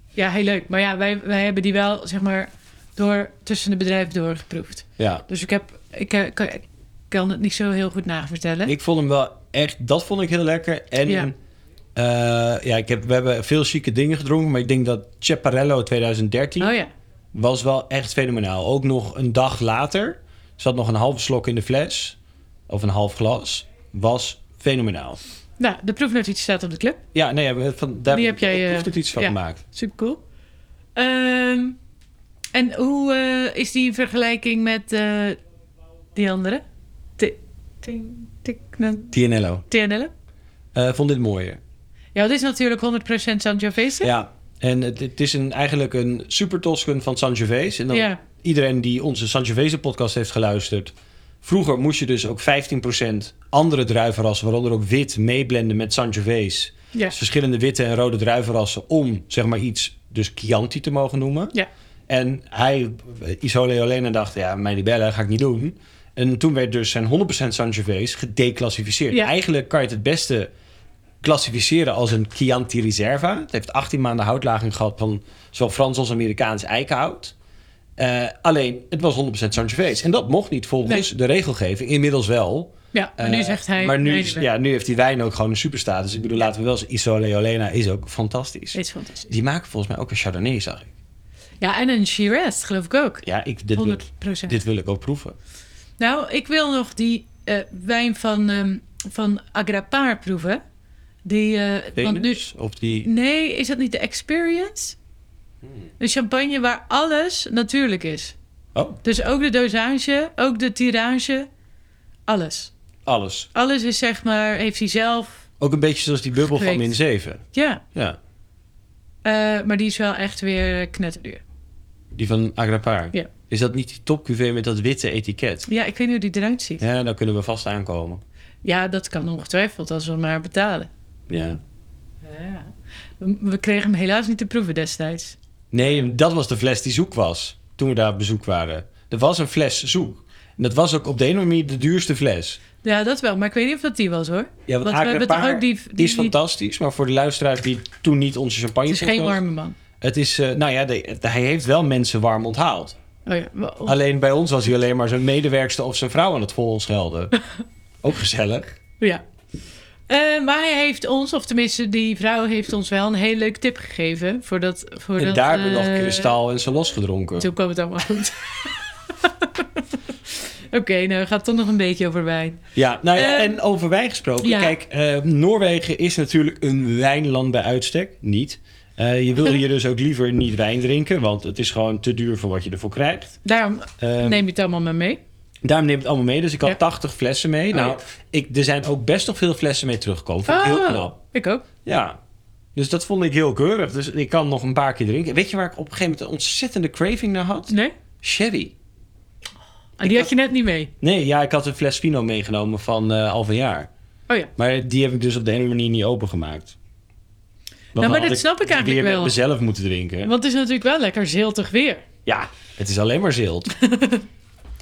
[SPEAKER 2] Ja, heel leuk. Maar ja, wij, wij hebben die wel, zeg maar, door, tussen de bedrijven door geproefd.
[SPEAKER 1] Ja.
[SPEAKER 2] Dus ik, heb, ik, eh, kan, ik kan het niet zo heel goed navertellen.
[SPEAKER 1] Ik vond hem wel echt, dat vond ik heel lekker. En
[SPEAKER 2] Ja.
[SPEAKER 1] ja, ja ik heb, we hebben veel chique dingen gedronken, maar ik denk dat Chaparello 2013
[SPEAKER 2] Oh ja.
[SPEAKER 1] was wel echt fenomenaal. Ook nog een dag later zat nog een halve slok in de fles. Of een half glas. Was fenomenaal.
[SPEAKER 2] Nou, de proefnotitie staat op de club.
[SPEAKER 1] Ja, nee, we- van, daar
[SPEAKER 2] Die heb jij, eh,
[SPEAKER 1] heeft het iets van
[SPEAKER 2] ja.
[SPEAKER 1] gemaakt.
[SPEAKER 2] Super cool. Ehm, en hoe eh, is die in vergelijking met eh, die andere? Ti- ting- tik- nan-
[SPEAKER 1] TNLO.
[SPEAKER 2] TNL?
[SPEAKER 1] Eh, vond dit mooier.
[SPEAKER 2] Ja, het is natuurlijk 100% Sangiovese.
[SPEAKER 1] Ja. En het, het is een, eigenlijk een super Toscan van Sangiovese. En dan
[SPEAKER 2] Ja.
[SPEAKER 1] iedereen die onze Sangiovese podcast heeft geluisterd. Vroeger moest je dus ook 15% andere druivenrassen, waaronder ook wit, meeblenden met Sangiovese.
[SPEAKER 2] Ja.
[SPEAKER 1] Dus verschillende witte en rode druivenrassen om zeg maar iets, dus Chianti te mogen noemen.
[SPEAKER 2] Ja.
[SPEAKER 1] En hij, eh, Isole Olena, dacht, ja, mij bellen ga ik niet doen. En toen werd dus zijn 100% Sangiovese gedeclassificeerd.
[SPEAKER 2] Ja.
[SPEAKER 1] Eigenlijk kan je het het beste klassificeren als een Chianti Reserva. Het heeft 18 maanden houtlaging gehad van zowel Frans als Amerikaans eikenhout. Eh, alleen, het was 100% Sangiovese. En dat mocht niet volgens de regelgeving. Inmiddels wel.
[SPEAKER 2] Ja, maar nu
[SPEAKER 1] Eh,
[SPEAKER 2] zegt hij...
[SPEAKER 1] Maar nu,
[SPEAKER 2] nee,
[SPEAKER 1] is-
[SPEAKER 2] nee.
[SPEAKER 1] ja, nu heeft die wijn ook gewoon een superstatus. Ik bedoel, laten we wel eens... Isole Olena is ook fantastisch.
[SPEAKER 2] Dit is fantastisch.
[SPEAKER 1] Die maken volgens mij ook een Chardonnay, zag ik.
[SPEAKER 2] Ja, en een Shiraz, geloof ik ook.
[SPEAKER 1] Ja, ik, dit, wil,
[SPEAKER 2] 100%.
[SPEAKER 1] dit wil ik ook proeven.
[SPEAKER 2] Nou, ik wil nog die eh, wijn van, ehm van Agrapar proeven. Die, eh, want nu,
[SPEAKER 1] Venus, dus of die...
[SPEAKER 2] nee, is dat niet de Experience?
[SPEAKER 1] Hmm.
[SPEAKER 2] Een champagne waar alles natuurlijk is.
[SPEAKER 1] Oh,
[SPEAKER 2] Dus ook de dosage, ook de tirage, alles.
[SPEAKER 1] alles.
[SPEAKER 2] Alles is zeg maar, heeft hij zelf.
[SPEAKER 1] Ook een beetje zoals die bubbel van
[SPEAKER 2] Gekweekt.
[SPEAKER 1] min 7.
[SPEAKER 2] Ja,
[SPEAKER 1] Ja,
[SPEAKER 2] eh, maar die is wel echt weer knetterduur.
[SPEAKER 1] die van Agrapar.
[SPEAKER 2] Ja.
[SPEAKER 1] Is dat niet die top QV met dat witte etiket?
[SPEAKER 2] Ja, ik weet niet hoe die eruit ziet.
[SPEAKER 1] Ja, dan kunnen we vast aankomen.
[SPEAKER 2] Ja, dat kan ongetwijfeld als we hem maar betalen.
[SPEAKER 1] Ja.
[SPEAKER 2] Ja. We we kregen hem helaas niet te proeven destijds.
[SPEAKER 1] Nee, dat was de fles die zoek was toen we daar op bezoek waren. Er was een fles zoek. En dat was ook op de een of andere manier de duurste fles.
[SPEAKER 2] Ja, dat wel, maar ik weet niet of dat die was hoor.
[SPEAKER 1] Ja,
[SPEAKER 2] Want we hebben toch ook die- die-
[SPEAKER 1] is fantastisch. Maar voor de luisteraars die toen niet onze champagne
[SPEAKER 2] Het is geen
[SPEAKER 1] podcast-
[SPEAKER 2] warme man.
[SPEAKER 1] Het is, eh, nou ja, de- hij heeft wel mensen warm onthaald.
[SPEAKER 2] Oh ja, wa- oh,
[SPEAKER 1] Alleen bij ons was hij alleen maar zijn medewerkster of zijn vrouw aan het vol schelden. Ook gezellig.
[SPEAKER 2] ja. Eh, maar hij heeft ons, of tenminste die vrouw heeft ons wel een hele leuke tip gegeven. Voor dat, voor
[SPEAKER 1] En
[SPEAKER 2] dat,
[SPEAKER 1] daar hebben we
[SPEAKER 2] eh,
[SPEAKER 1] nog kristal en salos gedronken.
[SPEAKER 2] Toen kwam het allemaal goed. Oké, nou gaat toch nog een beetje over wijn.
[SPEAKER 1] Ja, nou ja,
[SPEAKER 2] Eh,
[SPEAKER 1] en over wijn gesproken.
[SPEAKER 2] ja.
[SPEAKER 1] Kijk, eh, Noorwegen is natuurlijk een wijnland bij uitstek. Niet. Eh, je wil hier dus ook liever niet wijn drinken, want het is gewoon te duur voor wat je ervoor krijgt.
[SPEAKER 2] Daarom
[SPEAKER 1] Ehm,
[SPEAKER 2] neem je het allemaal maar mee.
[SPEAKER 1] Daarom neem ik het allemaal mee. Dus ik had
[SPEAKER 2] Ja.
[SPEAKER 1] 80 flessen mee.
[SPEAKER 2] Oh,
[SPEAKER 1] nou,
[SPEAKER 2] ja.
[SPEAKER 1] ik, er zijn ook best nog veel flessen mee teruggekomen. Vond ik heel
[SPEAKER 2] Oh,
[SPEAKER 1] knap.
[SPEAKER 2] Ik ook.
[SPEAKER 1] Ja. Dus dat vond ik heel keurig. Dus ik kan nog een paar keer drinken. Weet je waar ik op een gegeven moment een ontzettende craving naar had?
[SPEAKER 2] Nee?
[SPEAKER 1] Sherry.
[SPEAKER 2] Ah, die had je net niet mee.
[SPEAKER 1] Nee, ja, ik had een fles Fino meegenomen van eh half een jaar.
[SPEAKER 2] Oh ja.
[SPEAKER 1] Maar die heb ik dus op de ene manier niet opengemaakt.
[SPEAKER 2] Nou, maar
[SPEAKER 1] dan
[SPEAKER 2] dat
[SPEAKER 1] had
[SPEAKER 2] snap ik eigenlijk
[SPEAKER 1] weer
[SPEAKER 2] wel.
[SPEAKER 1] met mezelf moeten drinken.
[SPEAKER 2] Want het is natuurlijk wel lekker ziltig weer.
[SPEAKER 1] Ja, het is alleen maar zilt.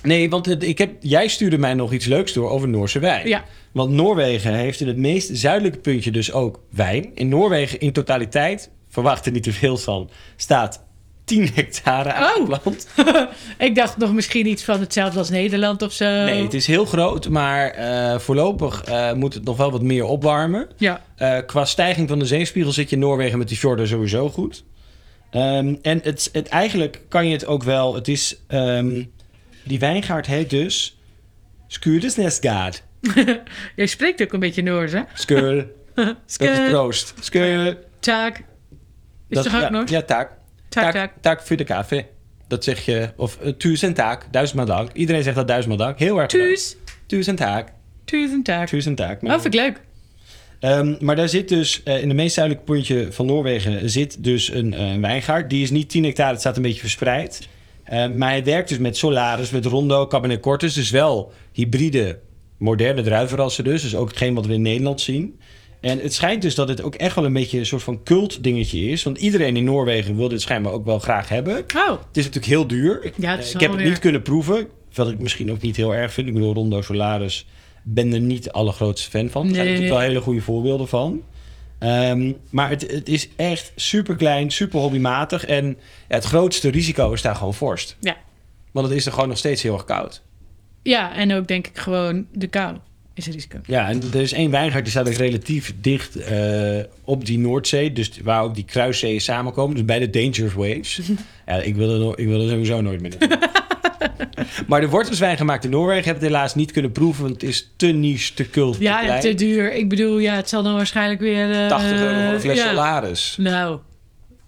[SPEAKER 1] nee, want het- ik heb, jij stuurde mij nog iets leuks door over Noorse wijn.
[SPEAKER 2] Ja.
[SPEAKER 1] Want Noorwegen heeft in het meest zuidelijke puntje dus ook wijn. In Noorwegen in totaliteit, verwacht er niet te veel van, staat 10 hectare
[SPEAKER 2] Oh.
[SPEAKER 1] aangeplant.
[SPEAKER 2] ik dacht nog misschien iets van hetzelfde als Nederland of zo.
[SPEAKER 1] Nee, het is heel groot, maar eh, voorlopig eh, moet het nog wel wat meer opwarmen.
[SPEAKER 2] Ja,
[SPEAKER 1] Eh, qua stijging van de zeespiegel zit je in Noorwegen met die fjorden sowieso goed. Ehm, en het, het, eigenlijk kan je het ook wel. Het is. ehm, die wijngaard heet dus. Skuurdesnestgaard.
[SPEAKER 2] jij spreekt ook een beetje Noors, hè?
[SPEAKER 1] Skur. Dat is
[SPEAKER 2] Skur,
[SPEAKER 1] proost. Skur.
[SPEAKER 2] taak. Is
[SPEAKER 1] dat
[SPEAKER 2] toch ook
[SPEAKER 1] ja,
[SPEAKER 2] Noors?
[SPEAKER 1] Ja, taak.
[SPEAKER 2] Taak, taak.
[SPEAKER 1] Taak voor de café. Dat zeg je. Of eh, tusen taak. Duizend maar dank. Iedereen zegt dat duizend maar dank. Heel erg. leuk.
[SPEAKER 2] Tuus,
[SPEAKER 1] Tusen taak.
[SPEAKER 2] tuus en taak.
[SPEAKER 1] Tusen taak.
[SPEAKER 2] Oh, vind ik leuk.
[SPEAKER 1] Ehm, maar daar zit dus, eh, in de meest zuidelijke puntje van Noorwegen zit dus een eh, wijngaard. Die is niet 10 hectare, het staat een beetje verspreid. Ehm, maar hij werkt dus met Solaris, met Rondo, Cabernet Cortis. Dus wel hybride, moderne druivenrassen dus. Dus ook hetgeen wat we in Nederland zien. En het schijnt dus dat het ook echt wel een beetje een soort van cult dingetje is. Want iedereen in Noorwegen wil dit schijnbaar ook wel graag hebben.
[SPEAKER 2] Oh,
[SPEAKER 1] Het is natuurlijk heel duur. Ik,
[SPEAKER 2] Ja, het is
[SPEAKER 1] eh, ik
[SPEAKER 2] wel
[SPEAKER 1] heb het
[SPEAKER 2] weer-
[SPEAKER 1] niet kunnen proeven. Wat ik misschien ook niet heel erg vind. Ik bedoel, Rondo Solaris ben er niet de allergrootste fan van. Er zijn
[SPEAKER 2] Nee.
[SPEAKER 1] natuurlijk wel hele goede voorbeelden van. Ehm, maar het, het is echt super klein, super hobbymatig. En ja, het grootste risico is daar gewoon vorst.
[SPEAKER 2] Ja.
[SPEAKER 1] Want het is er gewoon nog steeds heel erg koud.
[SPEAKER 2] ja, en ook denk ik gewoon de kou is een risico.
[SPEAKER 1] Ja, en er is één wijngaard die staat ook relatief dicht eh, op die Noordzee. Dus waar ook die kruiszeeën samenkomen. Dus bij de Dangerous Waves. ja, ik wil er, no- ik wil er sowieso nooit meer naartoe. maar de wortelswijn gemaakt in Noorwegen heb ik het helaas niet kunnen proeven. Want het is te niche, te cult,
[SPEAKER 2] Ja,
[SPEAKER 1] te klein.
[SPEAKER 2] en te eh, duur. Ik bedoel, ja, het zal dan waarschijnlijk weer... eh,
[SPEAKER 1] 80 euro voor een fles
[SPEAKER 2] ja.
[SPEAKER 1] salaris.
[SPEAKER 2] Nou,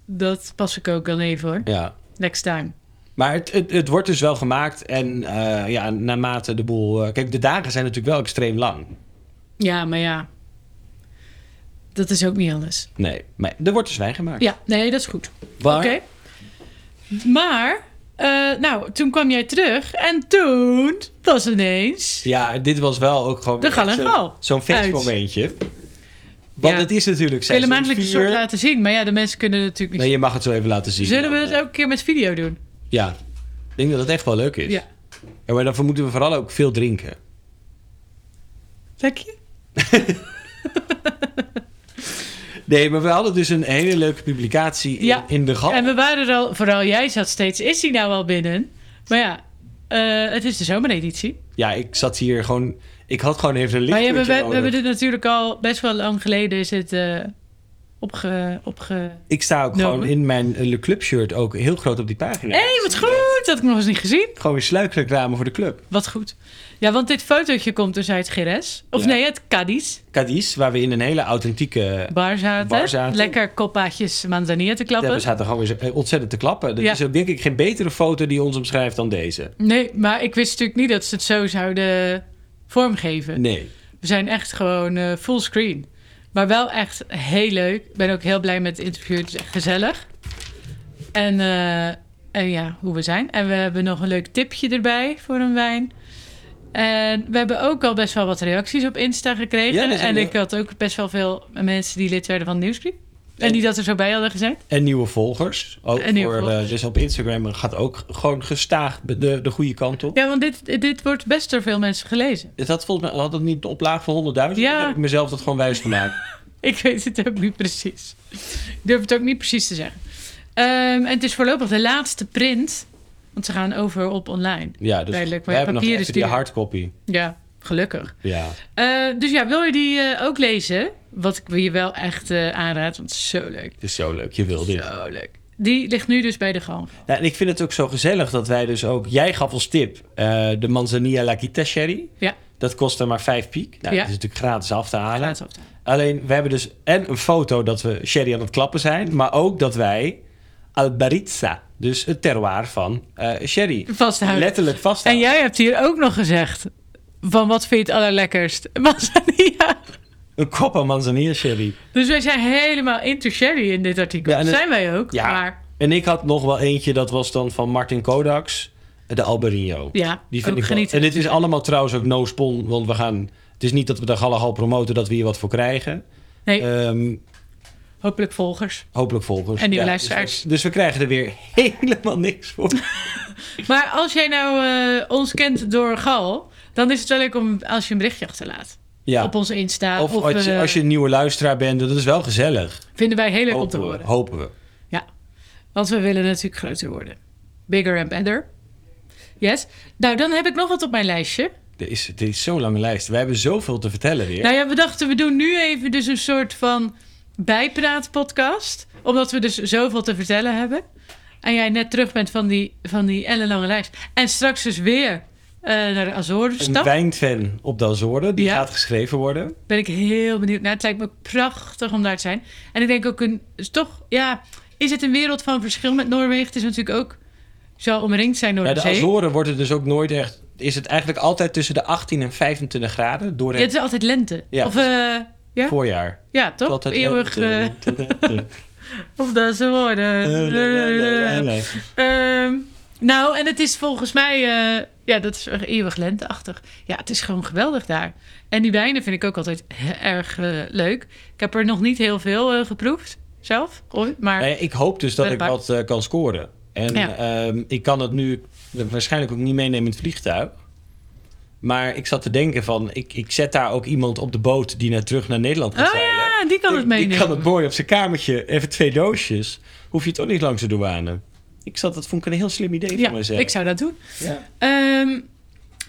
[SPEAKER 2] dat pas ik ook dan even hoor.
[SPEAKER 1] Ja.
[SPEAKER 2] Next time.
[SPEAKER 1] Maar het, het, het wordt dus wel gemaakt. En eh, ja, naarmate de boel... eh, kijk, de dagen zijn natuurlijk wel extreem lang.
[SPEAKER 2] Ja, maar ja. Dat is ook niet anders.
[SPEAKER 1] Nee, maar er wordt dus wijn gemaakt.
[SPEAKER 2] Ja, nee, dat is goed.
[SPEAKER 1] Waar-
[SPEAKER 2] Oké. Maar, eh, nou, toen kwam jij terug en toen was ineens...
[SPEAKER 1] Ja, dit was wel ook gewoon
[SPEAKER 2] De
[SPEAKER 1] weer echt
[SPEAKER 2] gal en
[SPEAKER 1] zo-
[SPEAKER 2] gal.
[SPEAKER 1] zo'n feestmomentje. Want
[SPEAKER 2] Ja.
[SPEAKER 1] het is natuurlijk
[SPEAKER 2] Ik wil hem
[SPEAKER 1] seizoen
[SPEAKER 2] eigenlijk een soort
[SPEAKER 1] vier.
[SPEAKER 2] laten zien, maar ja, de mensen kunnen het natuurlijk
[SPEAKER 1] Nee,
[SPEAKER 2] niet
[SPEAKER 1] je mag het zo even laten zien.
[SPEAKER 2] zien. Zullen we
[SPEAKER 1] Dan,
[SPEAKER 2] het
[SPEAKER 1] eh,
[SPEAKER 2] ook een keer met video doen?
[SPEAKER 1] Ja, ik denk dat het echt wel leuk is.
[SPEAKER 2] Ja.
[SPEAKER 1] Ja, maar daarvoor moeten we vooral ook veel drinken.
[SPEAKER 2] Dank je.
[SPEAKER 1] Nee, maar we hadden dus een hele leuke publicatie in,
[SPEAKER 2] Ja.
[SPEAKER 1] in de gal.
[SPEAKER 2] En we waren er al, vooral jij zat steeds, is hij nou al binnen? Maar ja, eh, het is de zomereditie.
[SPEAKER 1] Ja, ik zat hier gewoon... Ik had gewoon even een
[SPEAKER 2] Maar
[SPEAKER 1] lichtje
[SPEAKER 2] ja, we, we, we hebben dit natuurlijk al best wel lang geleden is het eh, opge... opge...
[SPEAKER 1] Ik sta ook
[SPEAKER 2] No.
[SPEAKER 1] gewoon in mijn eh, Le Club shirt ook heel groot op die pagina.
[SPEAKER 2] Hé, hey, wat goed! Dat had ik nog eens niet gezien.
[SPEAKER 1] Gewoon weer sluikreclame voor de club.
[SPEAKER 2] Wat goed. Ja, want dit fotootje komt dus uit Gires. Of
[SPEAKER 1] Ja.
[SPEAKER 2] nee, het Cadiz.
[SPEAKER 1] Cadiz, waar we in een hele authentieke...
[SPEAKER 2] Bar zaten.
[SPEAKER 1] Bar zaten.
[SPEAKER 2] Lekker koppaatjes manzanilla te
[SPEAKER 1] Ja,
[SPEAKER 2] klappen.
[SPEAKER 1] we zaten gewoon weer zo- eh, ontzettend te klappen. Er
[SPEAKER 2] Ja.
[SPEAKER 1] is ook denk ik geen betere foto die ons omschrijft dan deze.
[SPEAKER 2] Nee, maar ik wist natuurlijk niet dat ze het zo zouden vormgeven.
[SPEAKER 1] Nee.
[SPEAKER 2] We zijn echt gewoon eh full screen. Maar wel echt heel leuk. Ik ben ook heel blij met het interview. Het is echt gezellig. En, eh, en ja, hoe we zijn. En we hebben nog een leuk tipje erbij voor een wijn. En we hebben ook al best wel wat reacties op Insta
[SPEAKER 1] Ja,
[SPEAKER 2] gekregen.
[SPEAKER 1] dat is
[SPEAKER 2] en
[SPEAKER 1] een-
[SPEAKER 2] ik had ook best wel veel mensen die lid werden van Nieuwsbrief. En
[SPEAKER 1] En-
[SPEAKER 2] die dat er zo bij hadden gezet.
[SPEAKER 1] En nieuwe volgers. Ook
[SPEAKER 2] En nieuwe
[SPEAKER 1] voor,
[SPEAKER 2] volgers.
[SPEAKER 1] eh, dus op Instagram gaat ook gewoon gestaag de, de goede kant op.
[SPEAKER 2] Ja, want dit, dit wordt best door veel mensen gelezen.
[SPEAKER 1] Het had volgens mij had het niet de oplaag van 100.000.
[SPEAKER 2] Ja.
[SPEAKER 1] Dan heb ik mezelf dat gewoon wijs gemaakt.
[SPEAKER 2] Ik weet het ook niet precies. Ik durf het ook niet precies te zeggen. Ehm, en het is voorlopig de laatste print. Want ze gaan over op online.
[SPEAKER 1] Ja, dus
[SPEAKER 2] Duidelijk,
[SPEAKER 1] we
[SPEAKER 2] maar
[SPEAKER 1] hebben nog
[SPEAKER 2] papier
[SPEAKER 1] even
[SPEAKER 2] is
[SPEAKER 1] die
[SPEAKER 2] duur.
[SPEAKER 1] hardcopy.
[SPEAKER 2] Ja, gelukkig.
[SPEAKER 1] Ja.
[SPEAKER 2] Eh, dus ja, wil je die eh, ook lezen? Wat ik je wel echt eh, aanraad, want het is zo leuk.
[SPEAKER 1] Het is zo leuk. Je wil dit.
[SPEAKER 2] Zo leuk. Die ligt nu dus bij de gang.
[SPEAKER 1] Nou, en ik vind het ook zo gezellig dat wij dus ook... Jij gaf als tip eh, de Manzanilla Laquita Sherry.
[SPEAKER 2] Ja.
[SPEAKER 1] Dat kostte maar 5 piek. Nou,
[SPEAKER 2] Ja.
[SPEAKER 1] Dat is natuurlijk gratis af te halen.
[SPEAKER 2] Laat het op.
[SPEAKER 1] Alleen, we hebben dus en een foto dat we sherry aan het klappen zijn... maar ook dat wij Albaritza, dus het terroir van eh, sherry...
[SPEAKER 2] Vasthouden.
[SPEAKER 1] letterlijk vast.
[SPEAKER 2] En jij hebt hier ook nog gezegd: van wat vind je het allerlekkerst? Manzanilla.
[SPEAKER 1] Een kop aan manzanilla sherry.
[SPEAKER 2] Dus wij zijn helemaal into sherry in dit artikel.
[SPEAKER 1] Ja, en het-
[SPEAKER 2] zijn wij ook.
[SPEAKER 1] Ja.
[SPEAKER 2] Maar
[SPEAKER 1] En ik had nog wel eentje, dat was dan van Martin Kodaks, eh, de Albarino.
[SPEAKER 2] ja,
[SPEAKER 1] Die vind ik
[SPEAKER 2] ook
[SPEAKER 1] wel-
[SPEAKER 2] genieten.
[SPEAKER 1] En dit is allemaal trouwens ook no spon, want we gaan... Het is niet dat we daar gallegal promoten dat we hier wat voor krijgen.
[SPEAKER 2] Nee.
[SPEAKER 1] Ehm,
[SPEAKER 2] Hopelijk volgers.
[SPEAKER 1] Hopelijk volgers.
[SPEAKER 2] En nieuwe
[SPEAKER 1] Ja,
[SPEAKER 2] luisteraars.
[SPEAKER 1] Dus, dus we krijgen er weer helemaal niks voor.
[SPEAKER 2] Maar als jij nou eh, ons kent door Gal, dan is het wel leuk om als je een berichtje achterlaat.
[SPEAKER 1] Ja.
[SPEAKER 2] Op onze Insta.
[SPEAKER 1] of als je,
[SPEAKER 2] eh,
[SPEAKER 1] als je Oh, een nieuwe luisteraar bent, dat is wel gezellig.
[SPEAKER 2] Vinden wij heel leuk om te
[SPEAKER 1] Hopen we,
[SPEAKER 2] horen.
[SPEAKER 1] hopen we.
[SPEAKER 2] Ja, want we willen natuurlijk groter worden. Bigger and better. Yes. Nou, dan heb ik nog wat op mijn lijstje.
[SPEAKER 1] Er is, er is zo'n lange lijst. We hebben zoveel te vertellen weer.
[SPEAKER 2] Nou ja, we dachten we doen nu even dus een soort van bijpraatpodcast. Omdat we dus zoveel te vertellen hebben. En jij net terug bent van die, van die ellenlange lijst. En straks dus weer eh, naar de Azoren
[SPEAKER 1] een
[SPEAKER 2] stap.
[SPEAKER 1] wijnfan op de Azoren, die
[SPEAKER 2] Ja. Oh,
[SPEAKER 1] gaat geschreven worden.
[SPEAKER 2] Ben ik heel benieuwd naar. Het lijkt me prachtig om daar te zijn. En ik denk ook een... is toch, ja... Is het een wereld van verschil met Noorwegen? Het is natuurlijk ook... Zal omringd zijn door
[SPEAKER 1] Bij
[SPEAKER 2] de,
[SPEAKER 1] de
[SPEAKER 2] zee.
[SPEAKER 1] Azoren wordt het dus ook nooit echt... Is het eigenlijk altijd tussen de 18 en 25 graden door
[SPEAKER 2] Ja,
[SPEAKER 1] het
[SPEAKER 2] het is altijd lente.
[SPEAKER 1] Ja.
[SPEAKER 2] Of, eh, ja?
[SPEAKER 1] voorjaar.
[SPEAKER 2] ja, toch?
[SPEAKER 1] Altijd
[SPEAKER 2] Eeuwig. eh,
[SPEAKER 1] lente. Eh,
[SPEAKER 2] of dat ze worden. Ehm, nou, en het is volgens mij... eh, ja, dat is echt eeuwig lenteachtig. Ja, het is gewoon geweldig daar. En die wijnen vind ik ook altijd erg eh, leuk. Ik heb er nog niet heel veel eh, geproefd. Zelf, ooit, maar...
[SPEAKER 1] Nou ja, ik hoop dus dat ik
[SPEAKER 2] Prettig.
[SPEAKER 1] wat eh, kan scoren. En
[SPEAKER 2] Ja.
[SPEAKER 1] ehm, ik kan het nu waarschijnlijk ook niet meenemen in het vliegtuig. Maar ik zat te denken van... Ik, ik zet daar ook iemand op de boot die naar terug naar Nederland gaat
[SPEAKER 2] Oh
[SPEAKER 1] zeilen.
[SPEAKER 2] ja, die kan
[SPEAKER 1] Ik-
[SPEAKER 2] het meenemen.
[SPEAKER 1] Ik kan het mooi op zijn kamertje. Even twee doosjes. Hoef je toch niet langs de douane. Ik zat, dat vond ik een heel slim idee van
[SPEAKER 2] ja,
[SPEAKER 1] mezelf.
[SPEAKER 2] ik zou dat doen.
[SPEAKER 1] Ja.
[SPEAKER 2] Ehm,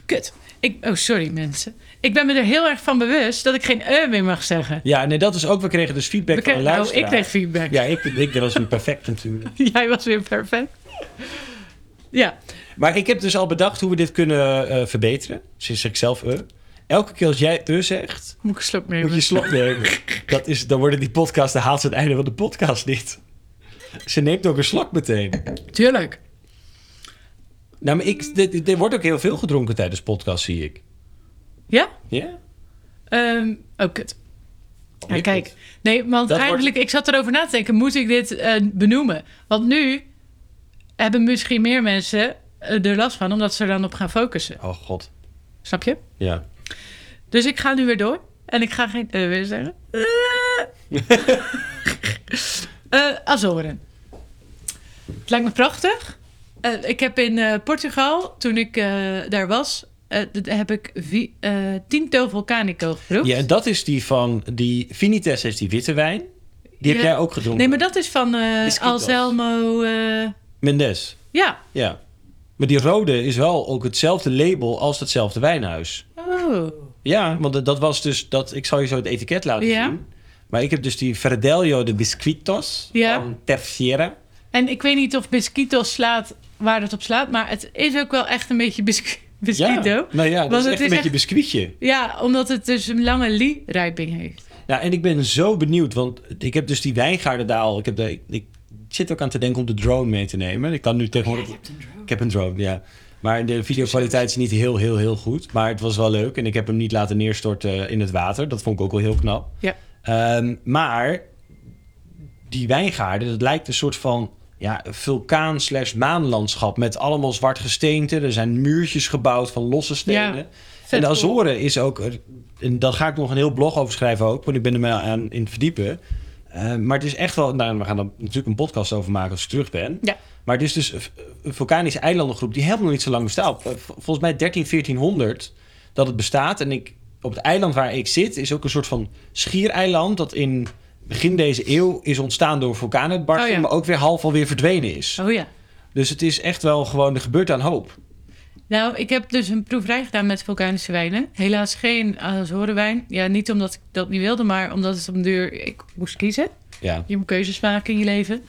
[SPEAKER 2] kut. Ik, oh, sorry mensen. Ik ben me er heel erg van bewust dat ik geen eh meer mag zeggen.
[SPEAKER 1] ja, nee, dat is ook... We kregen dus feedback
[SPEAKER 2] We kregen-
[SPEAKER 1] van een
[SPEAKER 2] nou,
[SPEAKER 1] luisteraar.
[SPEAKER 2] ik kreeg feedback.
[SPEAKER 1] Ja, ik, ik, dat was weer perfect natuurlijk.
[SPEAKER 2] Jij was weer perfect. Ja,
[SPEAKER 1] Maar ik heb dus al bedacht hoe we dit kunnen eh, verbeteren. Sinds ik zelf... eh. Elke keer als jij eh zegt...
[SPEAKER 2] moet ik een slok nemen.
[SPEAKER 1] Moet je een slok nemen. Dat is, dan worden die podcasts, dan haalt ze het einde van de podcast niet. Ze neemt ook een slok meteen.
[SPEAKER 2] Tuurlijk.
[SPEAKER 1] Nou, maar ik, dit- er wordt ook heel veel gedronken tijdens podcasts, zie ik.
[SPEAKER 2] Ja?
[SPEAKER 1] Ja?
[SPEAKER 2] Ehm, oh, kut. Ja,
[SPEAKER 1] Ik-
[SPEAKER 2] kijk. Nee, want
[SPEAKER 1] Dat
[SPEAKER 2] eigenlijk, ik zat erover na te denken, moet ik dit eh, benoemen? Want nu hebben misschien meer mensen eh, er last van, omdat ze er dan op gaan focussen.
[SPEAKER 1] Oh god.
[SPEAKER 2] Snap je?
[SPEAKER 1] Ja.
[SPEAKER 2] Dus ik ga nu weer door. En ik ga geen eh weer zeggen. Eh. Eh, Azoren. Het lijkt me prachtig. Eh, ik heb in eh, Portugal, toen ik eh, daar was, eh, d- heb ik vi- eh, Tinto Volcanico geproefd.
[SPEAKER 1] Ja, en dat is die van die Vinites heeft die witte wijn. Die heb
[SPEAKER 2] Ja.
[SPEAKER 1] jij ook gedronken.
[SPEAKER 2] Nee, maar dat is van eh
[SPEAKER 1] Mosquito's.
[SPEAKER 2] Anselmo. eh,
[SPEAKER 1] Mendes.
[SPEAKER 2] ja.
[SPEAKER 1] Ja. Maar die rode is wel ook hetzelfde label als datzelfde wijnhuis.
[SPEAKER 2] Oh.
[SPEAKER 1] Ja, want dat- dat was dus dat. Ik zal je zo het etiket laten
[SPEAKER 2] Ja.
[SPEAKER 1] zien. Maar ik heb dus die Verdelio de Biscuitos
[SPEAKER 2] Ja.
[SPEAKER 1] van Terfiera.
[SPEAKER 2] En ik weet niet of Bisquitos slaat waar het op slaat, maar het is ook wel echt een beetje bisqui- Bisquito.
[SPEAKER 1] Ja, nou ja, dat is
[SPEAKER 2] Want het
[SPEAKER 1] echt
[SPEAKER 2] is
[SPEAKER 1] een beetje
[SPEAKER 2] echt-
[SPEAKER 1] biscuitje.
[SPEAKER 2] Ja, omdat het dus een lange li-rijping heeft.
[SPEAKER 1] Nou, en ik ben zo benieuwd, want ik heb dus die wijngaardendaal. Ik, heb de, ik, ik zit ook aan te denken om de drone mee te nemen. Ik kan nu tegenwoordig... Ik heb een drone, ja. Maar de videokwaliteit is niet heel, heel, heel goed. Maar het was wel leuk en ik heb hem niet laten neerstorten in het water. Dat vond ik ook wel heel knap.
[SPEAKER 2] Ja.
[SPEAKER 1] Ehm, maar die wijngaarden, dat lijkt een soort van ja, vulkaan slash maanlandschap... met allemaal zwart gesteente. Er zijn muurtjes gebouwd van losse stenen.
[SPEAKER 2] Ja.
[SPEAKER 1] En
[SPEAKER 2] Vet
[SPEAKER 1] de
[SPEAKER 2] cool.
[SPEAKER 1] Azoren is ook, en daar ga ik nog een heel blog over schrijven ook, want ik ben er maar aan in het verdiepen. Eh, maar het is echt wel, nou, we gaan er natuurlijk een podcast over maken als ik terug ben.
[SPEAKER 2] Ja.
[SPEAKER 1] Maar het is dus een v- een vulkanische eilandengroep die helemaal niet zo lang bestaat. Eh, v- Volgens mij 13, 1400 dat het bestaat. En ik, op het eiland waar ik zit is ook een soort van schiereiland dat in begin deze eeuw is ontstaan door vulkaanuitbarsting,
[SPEAKER 2] Oh ja.
[SPEAKER 1] maar ook weer half alweer verdwenen is.
[SPEAKER 2] Oh ja.
[SPEAKER 1] Dus het is echt wel gewoon, er gebeurt aan hoop.
[SPEAKER 2] Nou, ik heb dus een proeverij gedaan met vulkanische wijnen. Helaas geen Azorenwijn. Ja, niet omdat ik dat niet wilde, maar omdat het om duur... Ik moest kiezen.
[SPEAKER 1] Ja.
[SPEAKER 2] Je moet keuzes maken in je leven.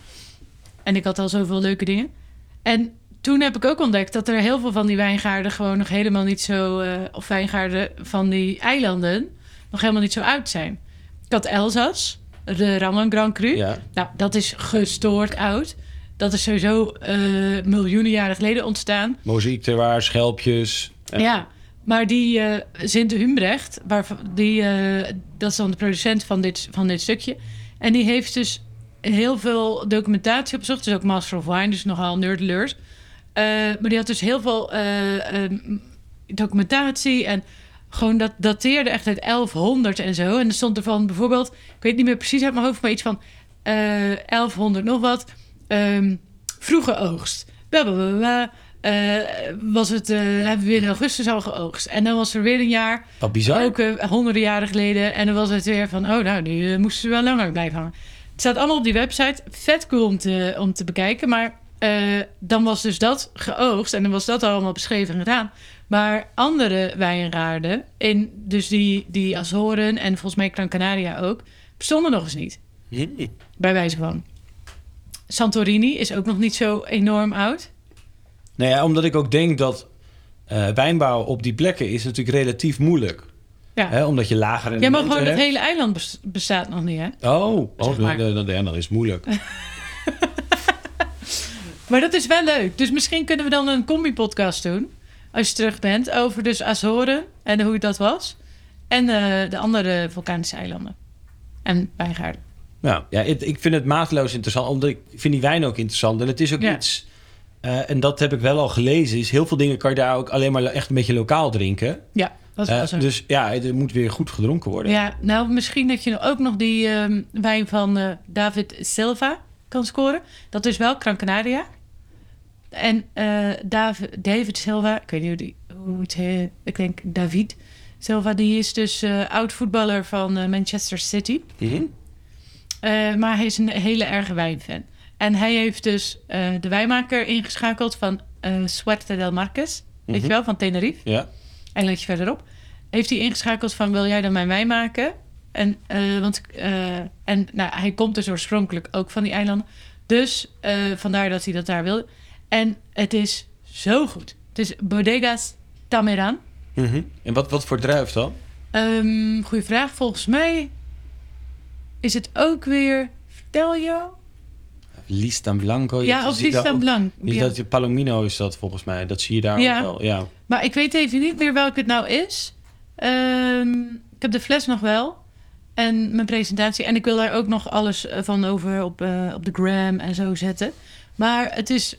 [SPEAKER 2] En ik had al zoveel leuke dingen. En toen heb ik ook ontdekt dat er heel veel van die wijngaarden... gewoon nog helemaal niet zo... eh, of wijngaarden van die eilanden... nog helemaal niet zo oud zijn. Ik had Elzas, de Ramon Grand Cru.
[SPEAKER 1] ja.
[SPEAKER 2] Nou, dat is gestoord oud. Dat is sowieso eh, miljoenen jaren geleden ontstaan.
[SPEAKER 1] Mozaïek terwaar, schelpjes.
[SPEAKER 2] Ja, maar die eh Sint Humbrecht, waarvan- die, eh, dat is dan de producent van dit, van dit stukje. En die heeft dus heel veel documentatie opgezocht. Dus ook Master of Wine, dus nogal nerdleurs. Eh maar die had dus heel veel eh, eh, documentatie en gewoon dat dateerde echt uit 1100 en zo. En er stond er van bijvoorbeeld, ik weet niet meer precies uit mijn hoofd, maar iets van eh, 1100 nog wat. ehm, vroege oogst. Bla bla bla. bla. Eh, was het, eh, hebben we weer in augustus al geoogst. En dan was er weer een jaar
[SPEAKER 1] Wat bizar.
[SPEAKER 2] ook eh, honderden jaren geleden. En dan was het weer van, oh nou, nu eh, moesten ze wel langer blijven hangen. Het staat allemaal op die website. Vet cool om te, om te bekijken. Maar eh, dan was dus dat geoogst. En dan was dat allemaal beschreven en gedaan. Maar andere wijnraarden, in, dus die, die Azoren en volgens mij Gran Canaria ook, bestonden nog eens niet.
[SPEAKER 1] Hm.
[SPEAKER 2] Bij wijze van. Santorini is ook nog niet zo enorm oud.
[SPEAKER 1] Nou ja, omdat ik ook denk dat eh, wijnbouw op die plekken is natuurlijk relatief moeilijk.
[SPEAKER 2] Ja.
[SPEAKER 1] Hè, omdat je lager in
[SPEAKER 2] Ja, maar
[SPEAKER 1] de
[SPEAKER 2] gewoon het
[SPEAKER 1] hebt.
[SPEAKER 2] hele eiland bes- bestaat nog niet, hè?
[SPEAKER 1] Oh,
[SPEAKER 2] Zeg
[SPEAKER 1] oh
[SPEAKER 2] maar.
[SPEAKER 1] dan, dan, dan is het moeilijk.
[SPEAKER 2] Maar dat is wel leuk. Dus misschien kunnen we dan een combi-podcast doen. Als je terug bent. Over dus Azoren en hoe dat was. En eh, de andere vulkanische eilanden. En wijngaarden.
[SPEAKER 1] Nou, ja, het- ik vind het maatloos interessant, omdat ik vind die wijn ook interessant. En het is ook
[SPEAKER 2] Ja.
[SPEAKER 1] iets, eh, en dat heb ik wel al gelezen, is heel veel dingen kan je daar ook alleen maar echt een beetje lokaal drinken.
[SPEAKER 2] Ja, dat
[SPEAKER 1] Eh,
[SPEAKER 2] was er.
[SPEAKER 1] dus ja, het moet weer goed gedronken worden.
[SPEAKER 2] Ja, nou misschien dat je ook nog die ehm, wijn van eh, David Silva kan scoren. Dat is wel Gran Canaria. En eh, Dav- David Silva, ik weet niet hoe, die, hoe het heet, ik denk David Silva, die is dus eh, oud voetballer van eh, Manchester City.
[SPEAKER 1] Mhm.
[SPEAKER 2] Eh, maar hij is een hele erge wijnfan. En hij heeft dus eh, de wijnmaker ingeschakeld van eh Suerte del Marques. Weet
[SPEAKER 1] Mhm.
[SPEAKER 2] je wel, van Tenerife.
[SPEAKER 1] Ja.
[SPEAKER 2] Eilandje verderop. Heeft hij ingeschakeld van, wil jij dan mijn wijn maken? En, eh, want, eh, en nou, hij komt dus oorspronkelijk ook van die eilanden. Dus eh, vandaar dat hij dat daar wil. En het is zo goed. Het is Bodegas Tameran.
[SPEAKER 1] Mhm. En wat, wat voor druif dan?
[SPEAKER 2] Ehm goeie vraag. Volgens mij is het ook weer... Vertel je
[SPEAKER 1] Listan Blanco. Oh, je
[SPEAKER 2] Ja, of
[SPEAKER 1] ziet daar
[SPEAKER 2] Tristan
[SPEAKER 1] ook-
[SPEAKER 2] Blanc.
[SPEAKER 1] Is
[SPEAKER 2] Ja.
[SPEAKER 1] dat je Palomino is dat volgens mij. Dat zie je daar
[SPEAKER 2] Ja.
[SPEAKER 1] ook wel. Ja.
[SPEAKER 2] Maar ik weet even niet meer welke het nou is. Ehm, ik heb de fles nog wel. En mijn presentatie. En ik wil daar ook nog alles eh, van over op, eh, op de gram en zo zetten. Maar het is...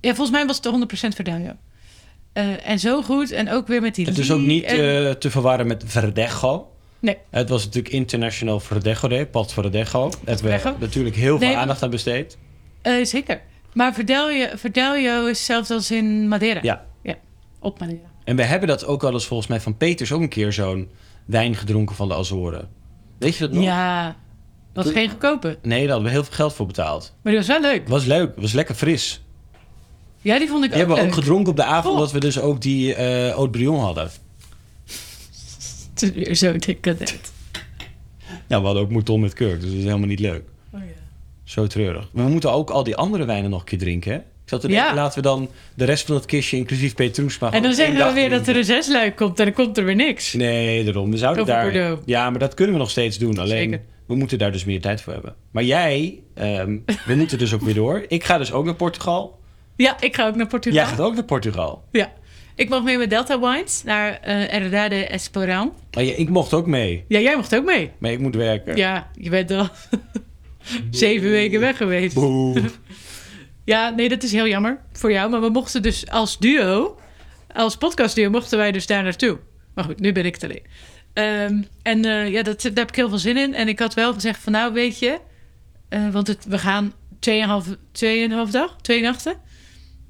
[SPEAKER 2] Ja, volgens mij was het de 100% Verdelio. Eh en zo goed. En ook weer met die...
[SPEAKER 1] Het is ook
[SPEAKER 2] Lee
[SPEAKER 1] niet
[SPEAKER 2] en-
[SPEAKER 1] eh, te verwarren met Verdejo.
[SPEAKER 2] Nee.
[SPEAKER 1] Het was natuurlijk International Verdejo Day, Pat Verdejo. Daar hebben we
[SPEAKER 2] Verdejo.
[SPEAKER 1] natuurlijk heel veel
[SPEAKER 2] Nee,
[SPEAKER 1] aandacht aan besteed.
[SPEAKER 2] Eh, zeker. Maar Verdelio, Verdelio is zelfs als in Madeira.
[SPEAKER 1] Ja.
[SPEAKER 2] Op Madeira.
[SPEAKER 1] En we hebben dat ook wel eens volgens mij van Peters ook een keer zo'n wijn gedronken van de Azoren. Weet je dat nog?
[SPEAKER 2] Ja. Was
[SPEAKER 1] Toen-
[SPEAKER 2] geen goedkope.
[SPEAKER 1] Nee, daar hadden we heel veel geld voor betaald.
[SPEAKER 2] Maar die was wel leuk.
[SPEAKER 1] Was leuk, was lekker fris.
[SPEAKER 2] Ja, die vond ik
[SPEAKER 1] Die hebben
[SPEAKER 2] ook
[SPEAKER 1] we
[SPEAKER 2] leuk.
[SPEAKER 1] ook gedronken op de avond
[SPEAKER 2] Oh.
[SPEAKER 1] dat we dus ook die eh Haute Brion hadden.
[SPEAKER 2] Het is weer zo decadent.
[SPEAKER 1] Nou, we hadden ook Mouton met kurk, dus dat is helemaal niet leuk.
[SPEAKER 2] Oh ja.
[SPEAKER 1] Zo treurig. Maar we moeten ook al die andere wijnen nog een keer drinken, hè? Ik zat te denken,
[SPEAKER 2] Ja.
[SPEAKER 1] laten we dan de rest van dat kistje, inclusief Petrus, maar
[SPEAKER 2] En dan
[SPEAKER 1] gewoon
[SPEAKER 2] zeggen
[SPEAKER 1] één
[SPEAKER 2] we
[SPEAKER 1] dag
[SPEAKER 2] weer dat er een zesluik komt en dan komt er weer niks.
[SPEAKER 1] Nee, daarom. We zouden
[SPEAKER 2] Over
[SPEAKER 1] daar...
[SPEAKER 2] Bordeaux.
[SPEAKER 1] Ja, maar dat kunnen we nog steeds doen. Alleen,
[SPEAKER 2] Zeker.
[SPEAKER 1] we moeten daar dus meer tijd voor hebben. Maar jij, ehm, we moeten dus ook weer door. Ik ga dus ook naar Portugal.
[SPEAKER 2] Ja, ik ga ook naar Portugal.
[SPEAKER 1] Jij gaat ook naar Portugal.
[SPEAKER 2] Ja. Ik mag mee met Delta Wines naar eh Herdade Esporão.
[SPEAKER 1] Maar ja, ik mocht ook mee.
[SPEAKER 2] Ja, jij mocht ook mee.
[SPEAKER 1] Maar ik moet werken.
[SPEAKER 2] Ja, je bent al zeven weken weg geweest.
[SPEAKER 1] Boe.
[SPEAKER 2] Ja, nee, dat is heel jammer voor jou. Maar we mochten dus als duo, als podcastduo, mochten wij dus daar naartoe. Maar goed, nu ben ik het alleen. Ehm, en eh, ja, dat, daar heb ik heel veel zin in. En ik had wel gezegd van, nou weet je... eh, want het, we gaan tweeënhalf, tweeënhalf dag, twee nachten.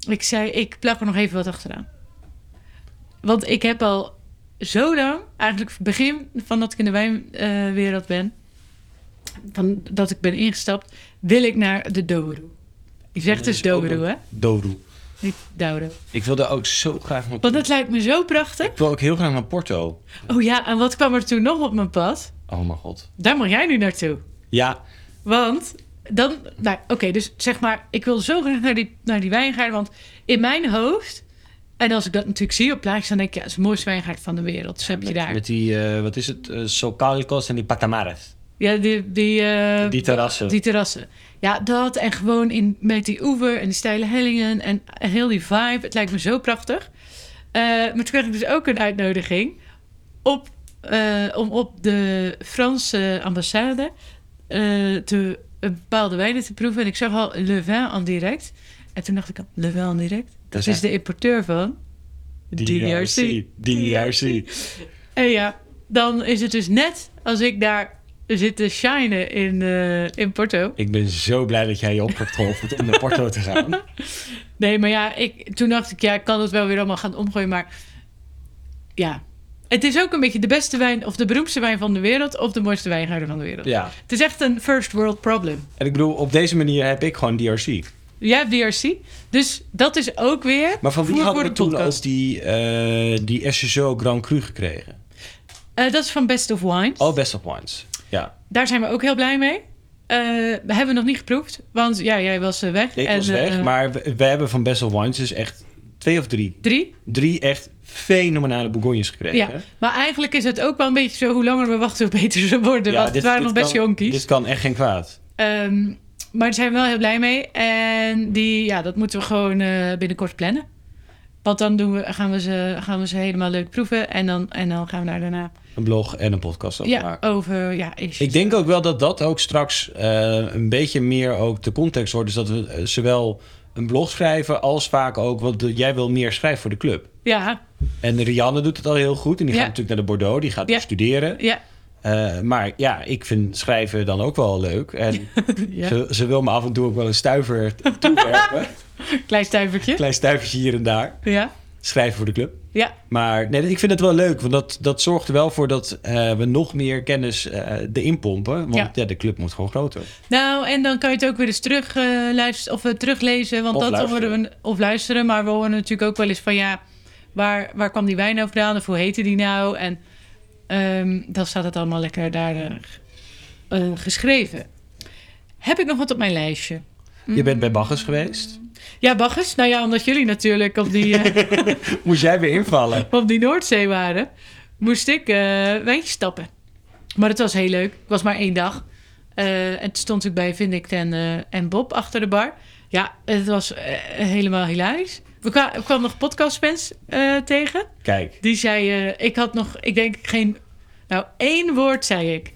[SPEAKER 2] Ik zei, ik plak er nog even wat achteraan. Want ik heb al zo lang, eigenlijk begin van dat ik in de wijnwereld ben... Van dat ik ben ingestapt, wil ik naar de Douro. Ik zeg
[SPEAKER 1] Dat
[SPEAKER 2] dus
[SPEAKER 1] is ook
[SPEAKER 2] Douro,
[SPEAKER 1] een-
[SPEAKER 2] hè?
[SPEAKER 1] Dodo.
[SPEAKER 2] Niet Douro.
[SPEAKER 1] Ik wilde ook zo graag naar
[SPEAKER 2] Want dat lijkt me zo prachtig.
[SPEAKER 1] Ik wil ook heel graag naar Porto.
[SPEAKER 2] Oh ja, en wat kwam er toen nog op mijn pad?
[SPEAKER 1] Oh mijn god.
[SPEAKER 2] Daar mag jij nu naartoe.
[SPEAKER 1] Ja,
[SPEAKER 2] Want dan, nou oké, dus zeg maar, ik wil zo graag naar die, naar die wijngaard. Want in mijn hoofd, en als ik dat natuurlijk zie op plaatjes, dan denk ik, ja, het is de mooiste wijngaard van de wereld. Dus heb je daar.
[SPEAKER 1] met die, eh, wat is het? Eh, Socalcos en die Patamares.
[SPEAKER 2] Ja, die, die, eh,
[SPEAKER 1] Die terrassen.
[SPEAKER 2] die terrassen. Ja, dat en gewoon in, met die oever en die steile hellingen en heel die vibe. Het lijkt me zo prachtig. Eh, maar toen kreeg ik dus ook een uitnodiging op, eh, om op de Franse ambassade eh, te, een bepaalde wijnen te proeven. En ik zag al Le Vin en direct. En toen dacht ik al, Le Vin en direct? Dat
[SPEAKER 1] zijn-
[SPEAKER 2] is de importeur van DRC.
[SPEAKER 1] DRC.
[SPEAKER 2] En ja, dan is het dus net als ik daar zitten shinen in, eh, in Porto.
[SPEAKER 1] Ik ben zo blij dat jij je op hebt geholpen om naar Porto te gaan.
[SPEAKER 2] Nee, maar ja, ik, toen dacht ik, ja, ik kan het wel weer allemaal gaan omgooien. Maar ja, het is ook een beetje de beste wijn, of de beroemdste wijn van de wereld, of de mooiste wijngaarden van de wereld.
[SPEAKER 1] Ja.
[SPEAKER 2] Het is echt een first world problem.
[SPEAKER 1] En ik bedoel, op deze manier heb ik gewoon DRC.
[SPEAKER 2] Jij hebt DRC, dus dat is ook weer.
[SPEAKER 1] Maar van wie
[SPEAKER 2] voer
[SPEAKER 1] hadden
[SPEAKER 2] voor
[SPEAKER 1] we
[SPEAKER 2] de
[SPEAKER 1] toen
[SPEAKER 2] podcast.
[SPEAKER 1] als die, eh die SSO Grand Cru gekregen?
[SPEAKER 2] Eh, dat is van Best of Wines.
[SPEAKER 1] Oh, Best of Wines. Ja,
[SPEAKER 2] Daar zijn we ook heel blij mee. Eh, we hebben nog niet geproefd, want ja, jij was eh, weg.
[SPEAKER 1] ik
[SPEAKER 2] En,
[SPEAKER 1] was weg.
[SPEAKER 2] eh,
[SPEAKER 1] maar we, we hebben van Best of Wines dus echt twee of drie.
[SPEAKER 2] Drie.
[SPEAKER 1] Drie echt fenomenale bourgognes gekregen.
[SPEAKER 2] Ja, maar eigenlijk is het ook wel een beetje zo... hoe langer we wachten, hoe beter ze worden.
[SPEAKER 1] Ja,
[SPEAKER 2] want het waren nog best
[SPEAKER 1] kan,
[SPEAKER 2] jonkies.
[SPEAKER 1] Dit kan echt geen kwaad.
[SPEAKER 2] Ehm, maar daar zijn we wel heel blij mee. En die, ja, dat moeten we gewoon eh, binnenkort plannen. Want dan doen we, gaan, we ze, gaan we ze helemaal leuk proeven. En dan, en dan gaan we daar daarna
[SPEAKER 1] Een blog en een podcast over
[SPEAKER 2] ja,
[SPEAKER 1] maken.
[SPEAKER 2] over... Ja, issues.
[SPEAKER 1] Ik denk ook wel dat dat ook straks eh, een beetje meer ook de context wordt. Dus dat we eh, zowel een blog schrijven als vaak ook... want de- jij wil meer schrijven voor de club.
[SPEAKER 2] Ja,
[SPEAKER 1] En Rianne doet het al heel goed. En die
[SPEAKER 2] Ja.
[SPEAKER 1] gaat natuurlijk naar de Bordeaux. Die gaat dus
[SPEAKER 2] Ja.
[SPEAKER 1] studeren.
[SPEAKER 2] ja,
[SPEAKER 1] Eh, maar ja, ik vind schrijven dan ook wel leuk. En
[SPEAKER 2] ja.
[SPEAKER 1] ze, ze wil me af en toe ook wel een stuiver t- toewerpen.
[SPEAKER 2] Klein stuivertje.
[SPEAKER 1] Klein stuivertje hier en daar.
[SPEAKER 2] Ja,
[SPEAKER 1] Schrijven voor de club.
[SPEAKER 2] ja.
[SPEAKER 1] Maar nee, ik vind het wel leuk, want dat, dat zorgt er wel voor dat eh, we nog meer kennis eh erin pompen. Want
[SPEAKER 2] Ja.
[SPEAKER 1] ja. de club moet gewoon groter.
[SPEAKER 2] Nou, en dan kan je het ook weer eens terug, eh, luisteren, of, eh, teruglezen. Want
[SPEAKER 1] Of
[SPEAKER 2] dat
[SPEAKER 1] luisteren.
[SPEAKER 2] horen we, of luisteren. Maar we horen natuurlijk ook wel eens van ja, waar, waar kwam die wijn nou vandaan? Of hoe heette die nou? En ehm, dan staat het allemaal lekker daar eh, eh, geschreven. Heb ik nog wat op mijn lijstje?
[SPEAKER 1] Je bent bij Baggers geweest.
[SPEAKER 2] Ja, Baggers. Nou ja, omdat jullie natuurlijk op die, eh,
[SPEAKER 1] Moest jij weer invallen?
[SPEAKER 2] op die Noordzee waren, moest ik eh wijntjes stappen. Maar het was heel leuk. Het was maar één dag. Eh, en toen stond ik bij Vindict en, eh, en Bob achter de bar. Ja, het was eh, helemaal hilarisch. We kwa- ik kwam nog podcastfans eh, tegen.
[SPEAKER 1] Kijk,
[SPEAKER 2] Die zei, eh, ik had nog, ik denk geen, nou één woord zei ik.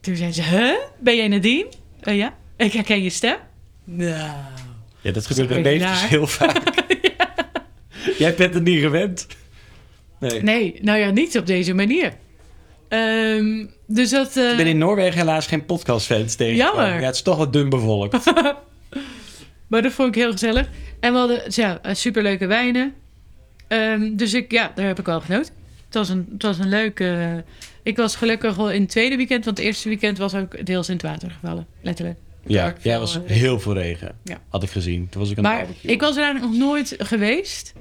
[SPEAKER 2] Toen zei ze, huh? Ben jij Nadine? Eh, ja, ik herken je stem. Nou.
[SPEAKER 1] ja, dat gebeurt bij
[SPEAKER 2] Sorry,
[SPEAKER 1] Beestjes
[SPEAKER 2] daar.
[SPEAKER 1] heel vaak. Jij bent het niet gewend. Nee.
[SPEAKER 2] Nee, nou ja, niet op deze manier. Ehm, dus dat... eh,
[SPEAKER 1] Ik ben in Noorwegen helaas geen podcastfans tegen.
[SPEAKER 2] Jammer.
[SPEAKER 1] Ja, het is toch wat dun bevolkt.
[SPEAKER 2] Maar dat vond ik heel gezellig. En we hadden ja, eh, superleuke wijnen. Ehm, dus ik, ja, daar heb ik wel genoten. Het was een, het was een leuke... eh, ik was gelukkig al in het tweede weekend, want het eerste weekend was ook deels in het water gevallen. Letterlijk.
[SPEAKER 1] Ja,
[SPEAKER 2] Veel,
[SPEAKER 1] jij was
[SPEAKER 2] eh,
[SPEAKER 1] heel veel regen.
[SPEAKER 2] Ja.
[SPEAKER 1] Had ik gezien. Toen was ik aan het
[SPEAKER 2] Maar
[SPEAKER 1] barbecue.
[SPEAKER 2] ik was er nog nooit geweest.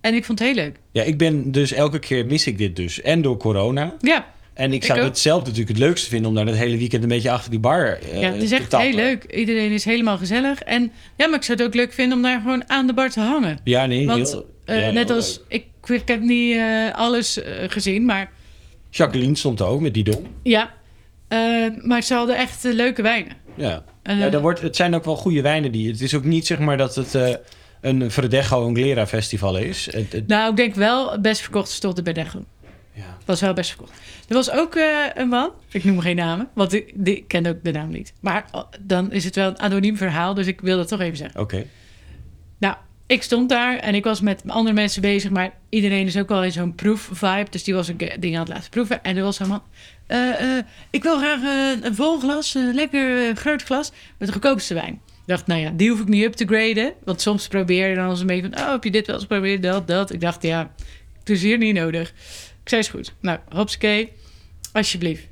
[SPEAKER 2] En ik vond het heel leuk.
[SPEAKER 1] Ja, ik ben dus elke keer mis ik dit dus. En door corona.
[SPEAKER 2] Ja,
[SPEAKER 1] En ik
[SPEAKER 2] Ik
[SPEAKER 1] zou
[SPEAKER 2] ook.
[SPEAKER 1] het zelf natuurlijk het leukste vinden om daar dat hele weekend een beetje achter die bar eh,
[SPEAKER 2] ja het is
[SPEAKER 1] te
[SPEAKER 2] echt
[SPEAKER 1] tappen.
[SPEAKER 2] heel leuk. Iedereen is helemaal gezellig. En ja, maar ik zou het ook leuk vinden om daar gewoon aan de bar te hangen.
[SPEAKER 1] Ja, nee.
[SPEAKER 2] Want
[SPEAKER 1] heel-
[SPEAKER 2] eh,
[SPEAKER 1] ja,
[SPEAKER 2] net
[SPEAKER 1] heel
[SPEAKER 2] als...
[SPEAKER 1] leuk.
[SPEAKER 2] Ik, ik heb niet eh, alles eh, gezien, maar...
[SPEAKER 1] Jacqueline stond er ook met die dom.
[SPEAKER 2] Ja, eh, maar ze hadden echt eh, leuke wijnen.
[SPEAKER 1] Ja.
[SPEAKER 2] En,
[SPEAKER 1] ja
[SPEAKER 2] eh,
[SPEAKER 1] daar wordt, het zijn ook wel goede wijnen die. Het is ook niet zeg maar dat het eh, een Verdejo Anglera festival is. Het, het-
[SPEAKER 2] Nou, ik denk wel best verkocht stond de Berdejo.
[SPEAKER 1] ja.
[SPEAKER 2] Was wel best verkocht. Er was ook eh, een man, ik noem geen namen, want ik, die, ik ken ook de naam niet. Maar oh, dan is het wel een anoniem verhaal, dus ik wil dat toch even zeggen.
[SPEAKER 1] Oké.
[SPEAKER 2] Nou, ik stond daar en ik was met andere mensen bezig, maar iedereen is ook wel in zo'n proef-vibe. Dus die was een ke- ding aan het laten proeven. En er was zo'n man. eh, eh, ik wil graag eh, een vol glas, een lekker eh, groot glas met de goedkoopste wijn. Ik dacht, nou ja, die hoef ik niet up te graden. Want soms probeer je dan als een beetje van, oh, heb je dit wel eens geprobeerd, dat, dat. Ik dacht, ja, het is hier niet nodig. Ik zei, is goed. Nou, hopsakee, alsjeblieft.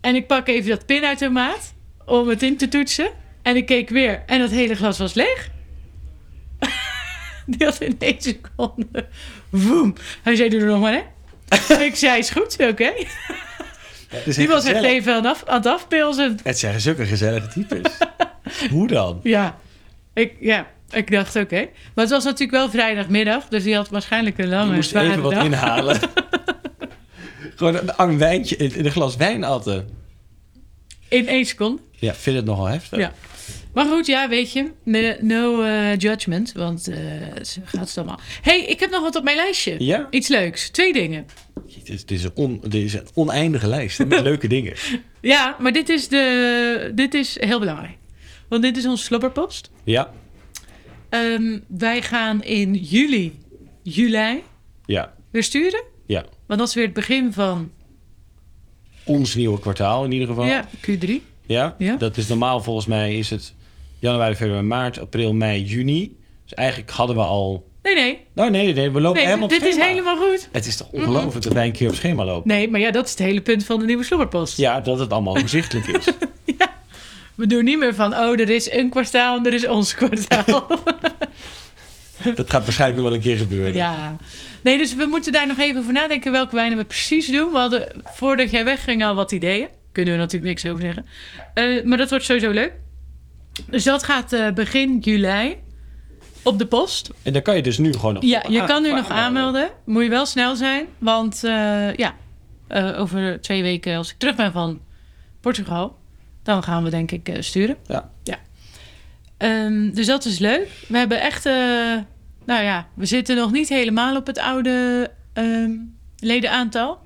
[SPEAKER 2] En ik pak even dat pinautomaat om het in te toetsen. En ik keek weer en dat hele glas was leeg. Die had in één seconde. Woem. Hij zei: Doe er nog maar, hè? ik zei: Is goed, oké.
[SPEAKER 1] Het is
[SPEAKER 2] Die
[SPEAKER 1] echt
[SPEAKER 2] was echt
[SPEAKER 1] gezellig.
[SPEAKER 2] even aan, het af, aan het afpilzen.
[SPEAKER 1] Het zijn zulke gezellige types. Hoe dan?
[SPEAKER 2] Ja. Ik, ja, ik dacht: Oké. Maar het was natuurlijk wel vrijdagmiddag, dus die had waarschijnlijk een
[SPEAKER 1] Je
[SPEAKER 2] lange,
[SPEAKER 1] moest
[SPEAKER 2] zware
[SPEAKER 1] even wat
[SPEAKER 2] dag.
[SPEAKER 1] inhalen. Gewoon een arm wijntje in een glas wijn atten.
[SPEAKER 2] In één seconde.
[SPEAKER 1] Ja, ik vind het nogal heftig.
[SPEAKER 2] Ja. Maar goed, ja, weet je. No, no, eh, judgment, want eh, ze gaat het allemaal. Hé, hey, ik heb nog wat op mijn lijstje.
[SPEAKER 1] Ja?
[SPEAKER 2] Iets leuks. Twee dingen.
[SPEAKER 1] Het is, het is een on- dit is een oneindige lijst met leuke dingen.
[SPEAKER 2] Ja, maar dit is, de, dit is heel belangrijk. Want dit is ons slobberpost.
[SPEAKER 1] Ja,
[SPEAKER 2] Ehm, wij gaan in juli, juli
[SPEAKER 1] ja,
[SPEAKER 2] weer sturen.
[SPEAKER 1] ja.
[SPEAKER 2] Want dat is weer het begin van
[SPEAKER 1] ons nieuwe kwartaal in ieder geval.
[SPEAKER 2] Ja, Q3.
[SPEAKER 1] Ja?
[SPEAKER 2] Ja.
[SPEAKER 1] Dat is normaal volgens mij is het januari, februari, maart, april, mei, juni. Dus eigenlijk hadden we al...
[SPEAKER 2] Nee, nee.
[SPEAKER 1] Nou nee, nee, nee we lopen
[SPEAKER 2] nee
[SPEAKER 1] helemaal
[SPEAKER 2] dit
[SPEAKER 1] op
[SPEAKER 2] is
[SPEAKER 1] schema.
[SPEAKER 2] helemaal goed.
[SPEAKER 1] Het is toch ongelooflijk dat wij een keer op schema lopen?
[SPEAKER 2] Nee, maar ja, dat is het hele punt van de nieuwe slobberpost.
[SPEAKER 1] Ja, dat het allemaal overzichtelijk is.
[SPEAKER 2] We doen niet meer van, oh, er is een kwartaal en er is ons kwartaal.
[SPEAKER 1] dat gaat waarschijnlijk nog wel een keer gebeuren.
[SPEAKER 2] ja. Nee, dus we moeten daar nog even over nadenken welke wijnen we precies doen. We hadden voordat jij wegging al wat ideeën. Kunnen we natuurlijk niks over zeggen. Eh, maar dat wordt sowieso leuk. Dus dat gaat eh, begin juli op de post.
[SPEAKER 1] En dan kan je dus nu gewoon nog...
[SPEAKER 2] Ja,
[SPEAKER 1] op-
[SPEAKER 2] je
[SPEAKER 1] ah,
[SPEAKER 2] kan nu
[SPEAKER 1] voor
[SPEAKER 2] nog aanmelden. Moet je wel snel zijn. Want eh, ja, eh, over twee weken als ik terug ben van Portugal... dan gaan we denk ik eh, sturen.
[SPEAKER 1] Ja.
[SPEAKER 2] ja. Ehm, dus dat is leuk. We hebben echt... eh, nou ja, we zitten nog niet helemaal op het oude ehm, ledenaantal.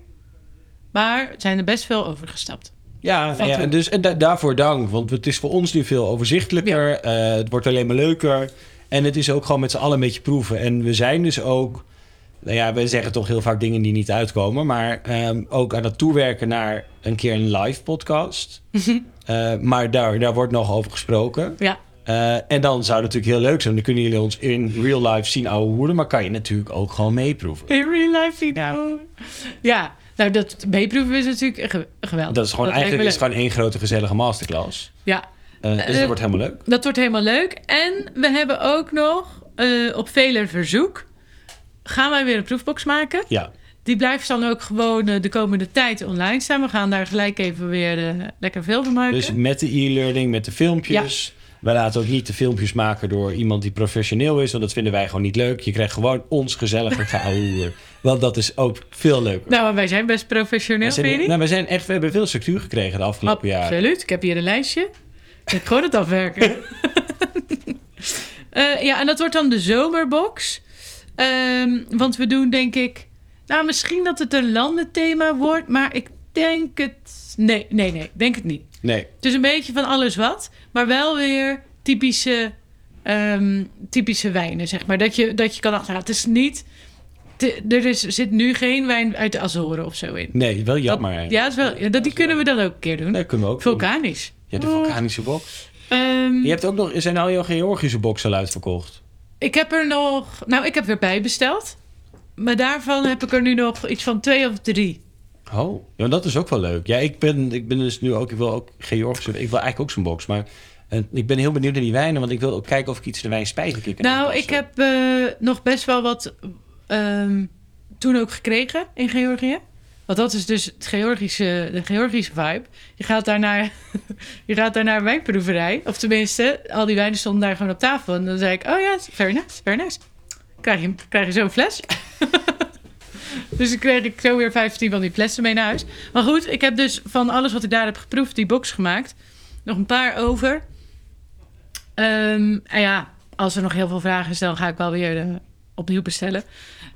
[SPEAKER 2] Maar zijn er best veel overgestapt.
[SPEAKER 1] Ja, nou ja
[SPEAKER 2] toe.
[SPEAKER 1] en dus, en da- daarvoor dank. Want het is voor ons nu veel overzichtelijker. eh, het wordt alleen maar leuker. En het is ook gewoon met z'n allen een beetje proeven. En we zijn dus ook... Nou ja, we zeggen toch heel vaak dingen die niet uitkomen. Maar ehm, ook aan het toewerken naar een keer een live podcast.
[SPEAKER 2] Mhm.
[SPEAKER 1] Eh, maar daar, daar wordt nog over gesproken.
[SPEAKER 2] Ja,
[SPEAKER 1] Eh, en dan zou het natuurlijk heel leuk zijn. Dan kunnen jullie ons in real life zien ouwe hoeren. Maar kan je natuurlijk ook gewoon meeproeven.
[SPEAKER 2] in real life die nou. Ja, nou dat meeproeven is natuurlijk ge- geweldig.
[SPEAKER 1] Dat is gewoon,
[SPEAKER 2] lijkt me
[SPEAKER 1] eigenlijk is
[SPEAKER 2] leuk.
[SPEAKER 1] het gewoon één grote gezellige masterclass.
[SPEAKER 2] Ja,
[SPEAKER 1] Eh, dus
[SPEAKER 2] Eh,
[SPEAKER 1] dat wordt helemaal leuk.
[SPEAKER 2] Dat wordt helemaal leuk. En we hebben ook nog eh, op veler verzoek. Gaan wij weer een proefbox maken?
[SPEAKER 1] Ja.
[SPEAKER 2] Die blijft dan ook gewoon eh, de komende tijd online staan. We gaan daar gelijk even weer eh, lekker veel van maken.
[SPEAKER 1] Dus met de e-learning, met de filmpjes. Wij laten ook niet de filmpjes maken door iemand die professioneel is. Want dat vinden wij gewoon niet leuk. Je krijgt gewoon ons gezellige geouwehoer. Want dat is ook veel leuker.
[SPEAKER 2] Nou, maar wij zijn best professioneel,
[SPEAKER 1] Wij
[SPEAKER 2] vind je Oh,
[SPEAKER 1] zijn,
[SPEAKER 2] niet?
[SPEAKER 1] nou, wij zijn echt, we hebben veel structuur gekregen de afgelopen jaren.
[SPEAKER 2] Absoluut. Ik heb hier een lijstje. Ik heb gewoon het afwerken. Eh, ja, en dat wordt dan de zomerbox. Ehm, want we doen denk ik... Nou, misschien dat het een landenthema wordt, maar ik denk het... Nee, nee, nee. ik Denk het niet.
[SPEAKER 1] Nee,
[SPEAKER 2] Dus een beetje van alles wat, maar wel weer typische, ehm, typische wijnen, zeg maar. Dat je, dat je kan achterhalen. Het is niet. te- er is, zit nu geen wijn uit de Azoren of zo in.
[SPEAKER 1] nee, wel
[SPEAKER 2] Dat-
[SPEAKER 1] jammer.
[SPEAKER 2] ja, is wel, ja, dat, die kunnen we dan ook een keer doen.
[SPEAKER 1] dat kunnen we ook. doen.
[SPEAKER 2] Vulkanisch.
[SPEAKER 1] Ja, de vulkanische box.
[SPEAKER 2] Ehm,
[SPEAKER 1] Je hebt ook nog, er zijn al je Georgische boxen al uitverkocht.
[SPEAKER 2] Ik heb er nog. Nou, ik heb er bij besteld. Maar daarvan heb ik er nu nog iets van twee of drie.
[SPEAKER 1] Oh, ja, dat is ook wel leuk. Ja, ik ben, ik ben dus nu ook, ik wil ook Georgische, ik wil eigenlijk ook zo'n box. Maar eh, ik ben heel benieuwd naar die wijnen, want ik wil ook kijken of ik iets in de wijnspijzenkikker kan
[SPEAKER 2] Nou, ik
[SPEAKER 1] inpassen.
[SPEAKER 2] heb eh, nog best wel wat ehm, toen ook gekregen in Georgië. Want dat is dus het Georgische, de Georgische vibe. Je gaat daar naar, je gaat daar naar een wijnproeverij. Of tenminste, al die wijnen stonden daar gewoon op tafel. En dan zei ik, oh ja, very nice, very nice. Krijg je, krijg je zo'n fles? dus dan kreeg ik zo weer 15 van die flessen mee naar huis. Maar goed, ik heb dus van alles wat ik daar heb geproefd, die box gemaakt. Nog een paar over. Ehm, en ja, als er nog heel veel vragen is, dan ga ik wel weer eh, opnieuw bestellen.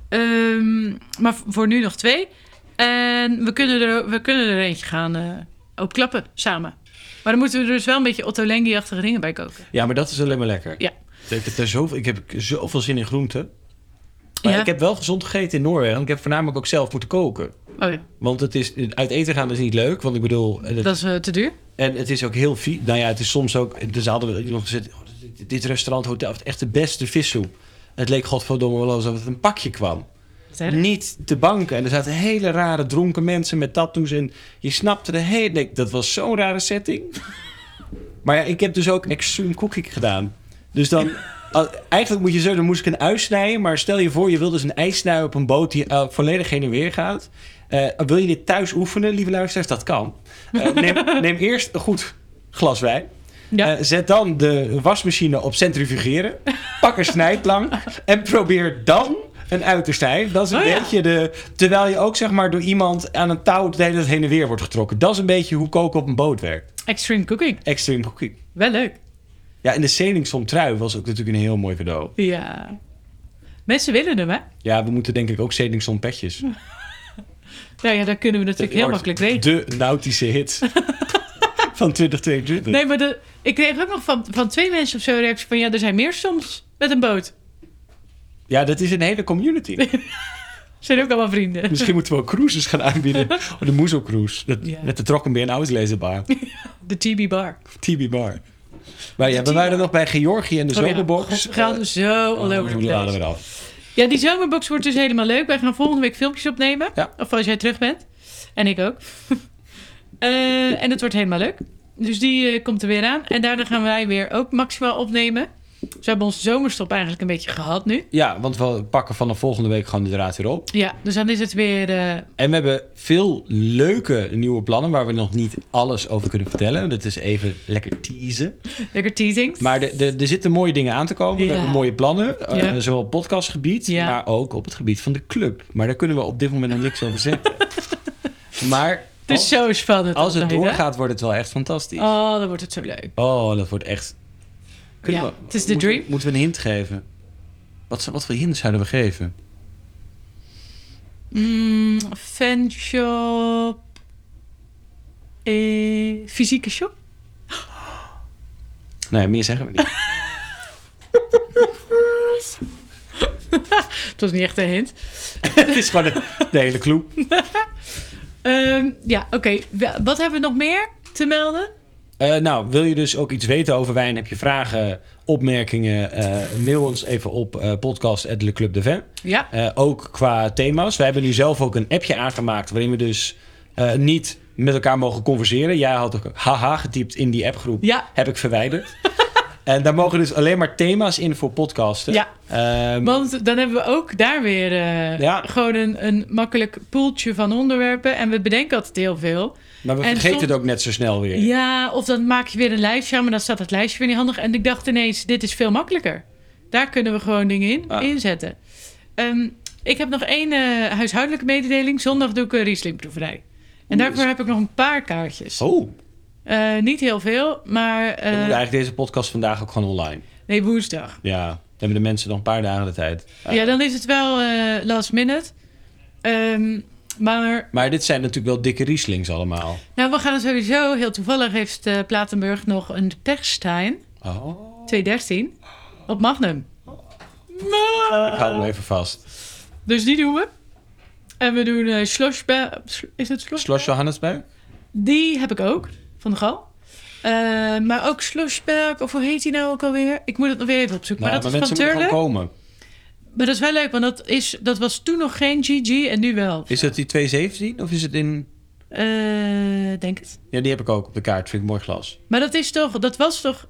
[SPEAKER 2] Ehm, maar v- voor nu nog twee. En we kunnen er, we kunnen er eentje gaan eh, opklappen samen. Maar dan moeten we er dus wel een beetje Otto Lengi-achtige dingen bij koken.
[SPEAKER 1] Ja, maar dat is alleen maar lekker.
[SPEAKER 2] Ja.
[SPEAKER 1] Ik heb, daar zoveel, ik heb zoveel zin in groenten. Maar
[SPEAKER 2] Ja.
[SPEAKER 1] ik heb wel gezond gegeten in Noorwegen. Ik heb voornamelijk ook zelf moeten koken.
[SPEAKER 2] Oh ja,
[SPEAKER 1] Want het is, uit eten gaan is niet leuk. Want ik bedoel, en het,
[SPEAKER 2] dat is eh, te duur.
[SPEAKER 1] en het is ook heel vies. Nou ja, het is soms ook... Dus hadden we iemand gezegd, oh, dit- dit restaurant, hotel, het echt de beste vissoep. Het leek godverdomme wel alsof het een pakje kwam.
[SPEAKER 2] Wat erg.
[SPEAKER 1] Niet te banken. En er zaten hele rare dronken mensen met tattoos. En je snapte de hele... nee, dat was zo'n rare setting. maar ja, ik heb dus ook extreme cooking gedaan. Dus dan... al- Eigenlijk moet je zo, dan moest ik een ui snijden. Maar stel je voor, je wil dus een ijs snijden op een boot die eh, volledig heen en weer gaat. Eh, wil je dit thuis oefenen, lieve luisteraars? Dat kan. Eh, neem, neem eerst een goed glas wijn.
[SPEAKER 2] Ja.
[SPEAKER 1] Eh, zet dan de wasmachine op centrifugeren. Pak een snijdplank. en probeer dan een uit te snijden. Dat is een
[SPEAKER 2] Oh ja.
[SPEAKER 1] beetje de. Terwijl je ook zeg maar door iemand aan een touw de hele tijd heen en weer wordt getrokken. Dat is een beetje hoe koken op een boot werkt.
[SPEAKER 2] Extreme cooking.
[SPEAKER 1] Extreme cooking.
[SPEAKER 2] Wel leuk.
[SPEAKER 1] Ja, en de Seningsom trui was ook natuurlijk een heel mooi cadeau.
[SPEAKER 2] Ja. Mensen willen hem, hè?
[SPEAKER 1] Ja, we moeten denk ik ook Seningsom petjes. Dat
[SPEAKER 2] Nou ja, dat kunnen we natuurlijk heel
[SPEAKER 1] wordt
[SPEAKER 2] makkelijk weten.
[SPEAKER 1] De nautische hit van 2022.
[SPEAKER 2] Nee, maar de, ik kreeg ook nog van, van twee mensen of zo een reactie van... ja, er zijn meer soms met een boot.
[SPEAKER 1] Ja, dat is een hele community.
[SPEAKER 2] Zijn ook allemaal vrienden.
[SPEAKER 1] Misschien moeten we ook cruises gaan aanbieden. Oh, de Moezel Cruise. Dat,
[SPEAKER 2] Ja.
[SPEAKER 1] Met de Trokkenbeer en Uitlezenbar.
[SPEAKER 2] De TB Bar.
[SPEAKER 1] TB Bar. Maar ja, we waren nog bij Georgië en de
[SPEAKER 2] Oh ja,
[SPEAKER 1] zomerbox.
[SPEAKER 2] god, we gaan
[SPEAKER 1] Eh,
[SPEAKER 2] we zo all over
[SPEAKER 1] hoe
[SPEAKER 2] the
[SPEAKER 1] laden we
[SPEAKER 2] place.
[SPEAKER 1] het af?
[SPEAKER 2] Ja, die zomerbox wordt dus helemaal leuk. Wij gaan volgende week filmpjes opnemen.
[SPEAKER 1] Ja.
[SPEAKER 2] Of als jij terug bent. En ik ook. Eh, en het wordt helemaal leuk. Dus die eh, komt er weer aan. En daarna gaan wij weer ook maximaal opnemen. Dus we hebben onze zomerstop eigenlijk een beetje gehad nu.
[SPEAKER 1] Ja, want we pakken vanaf volgende week gewoon de draad weer op.
[SPEAKER 2] Ja, dus dan is het weer... eh,
[SPEAKER 1] En we hebben veel leuke nieuwe plannen waar we nog niet alles over kunnen vertellen. Dat is even lekker teasen.
[SPEAKER 2] Lekker teasings.
[SPEAKER 1] Maar de- de- er zitten mooie dingen aan te komen.
[SPEAKER 2] Ja.
[SPEAKER 1] We hebben mooie plannen. eh,
[SPEAKER 2] Ja.
[SPEAKER 1] zowel op podcastgebied,
[SPEAKER 2] Ja.
[SPEAKER 1] maar ook op het gebied van de club. Maar daar kunnen we op dit moment nog niks over zeggen. maar
[SPEAKER 2] het is Dus zo spannend.
[SPEAKER 1] als het
[SPEAKER 2] altijd, hè?
[SPEAKER 1] doorgaat, wordt het wel echt fantastisch. Oh,
[SPEAKER 2] Oh, dan wordt het zo leuk.
[SPEAKER 1] dat wordt echt... Kunnen
[SPEAKER 2] Ja,
[SPEAKER 1] we-
[SPEAKER 2] het is de
[SPEAKER 1] moeten we-
[SPEAKER 2] dream.
[SPEAKER 1] Moeten we een hint geven? Wat, zou- wat voor hint zouden we geven?
[SPEAKER 2] Mm, fanshop. Eh, fysieke shop?
[SPEAKER 1] Nee, meer zeggen we niet.
[SPEAKER 2] Het was niet echt een hint.
[SPEAKER 1] het is gewoon de, de hele clue.
[SPEAKER 2] Ehm, ja, oké. Wa- Wat hebben we nog meer te melden?
[SPEAKER 1] Eh, nou, wil je dus ook iets weten over wijn? Heb je vragen, opmerkingen? eh, mail ons even op eh podcast.leclubdevin.
[SPEAKER 2] Ja.
[SPEAKER 1] Eh, ook qua thema's. Wij hebben nu zelf ook een appje aangemaakt waarin we dus eh, niet met elkaar mogen converseren. Jij had ook haha getypt in die appgroep.
[SPEAKER 2] Ja.
[SPEAKER 1] Heb ik verwijderd. en daar mogen dus alleen maar thema's in voor podcasten.
[SPEAKER 2] Ja.
[SPEAKER 1] Ehm,
[SPEAKER 2] Want dan hebben we ook daar weer eh,
[SPEAKER 1] Ja.
[SPEAKER 2] gewoon een, een makkelijk poeltje van onderwerpen. En we bedenken altijd heel veel.
[SPEAKER 1] maar we
[SPEAKER 2] en
[SPEAKER 1] vergeten
[SPEAKER 2] soms-
[SPEAKER 1] het ook net zo snel weer.
[SPEAKER 2] Ja, of dan maak je weer een lijstje aan, maar dan staat dat lijstje weer niet handig. En ik dacht ineens, dit is veel makkelijker. Daar kunnen we gewoon dingen in
[SPEAKER 1] Ah.
[SPEAKER 2] inzetten. Ehm, ik heb nog één eh, huishoudelijke mededeling. Zondag doe ik een Rieslingproeverij. En
[SPEAKER 1] Oeh,
[SPEAKER 2] daarvoor
[SPEAKER 1] is-
[SPEAKER 2] heb ik nog een paar kaartjes.
[SPEAKER 1] Oh, dan
[SPEAKER 2] Eh, niet heel veel, maar... eh,
[SPEAKER 1] moet eigenlijk deze podcast vandaag ook gewoon online.
[SPEAKER 2] nee, woensdag.
[SPEAKER 1] Ja, dan hebben de mensen nog een paar dagen de tijd.
[SPEAKER 2] Ja, dan is het wel eh, last minute. Ehm, maar
[SPEAKER 1] Maar dit zijn natuurlijk wel dikke Rieslings allemaal.
[SPEAKER 2] nou, we gaan er sowieso... Heel toevallig heeft eh, Platenburg nog een Perstijn
[SPEAKER 1] Oh.
[SPEAKER 2] 213 op Magnum.
[SPEAKER 1] Ik hou hem even vast.
[SPEAKER 2] Dus die doen we. En we doen eh Slosbe- Is het Slosh?
[SPEAKER 1] Slos Johannesburg?
[SPEAKER 2] Die heb ik ook, van de Gal. Eh, maar ook Sloshberg, of hoe heet die nou ook alweer? Ik moet het nog weer even opzoeken.
[SPEAKER 1] Nou,
[SPEAKER 2] maar dat is van
[SPEAKER 1] mensen moeten
[SPEAKER 2] Turle.
[SPEAKER 1] gewoon komen.
[SPEAKER 2] Maar dat is wel leuk, want dat, is, dat was toen nog geen GG en nu wel.
[SPEAKER 1] Is dat die 217 of is het in...
[SPEAKER 2] Eh, denk het.
[SPEAKER 1] Ja, die heb ik ook op de kaart. Vind ik mooi glas.
[SPEAKER 2] Maar dat is toch, dat was toch...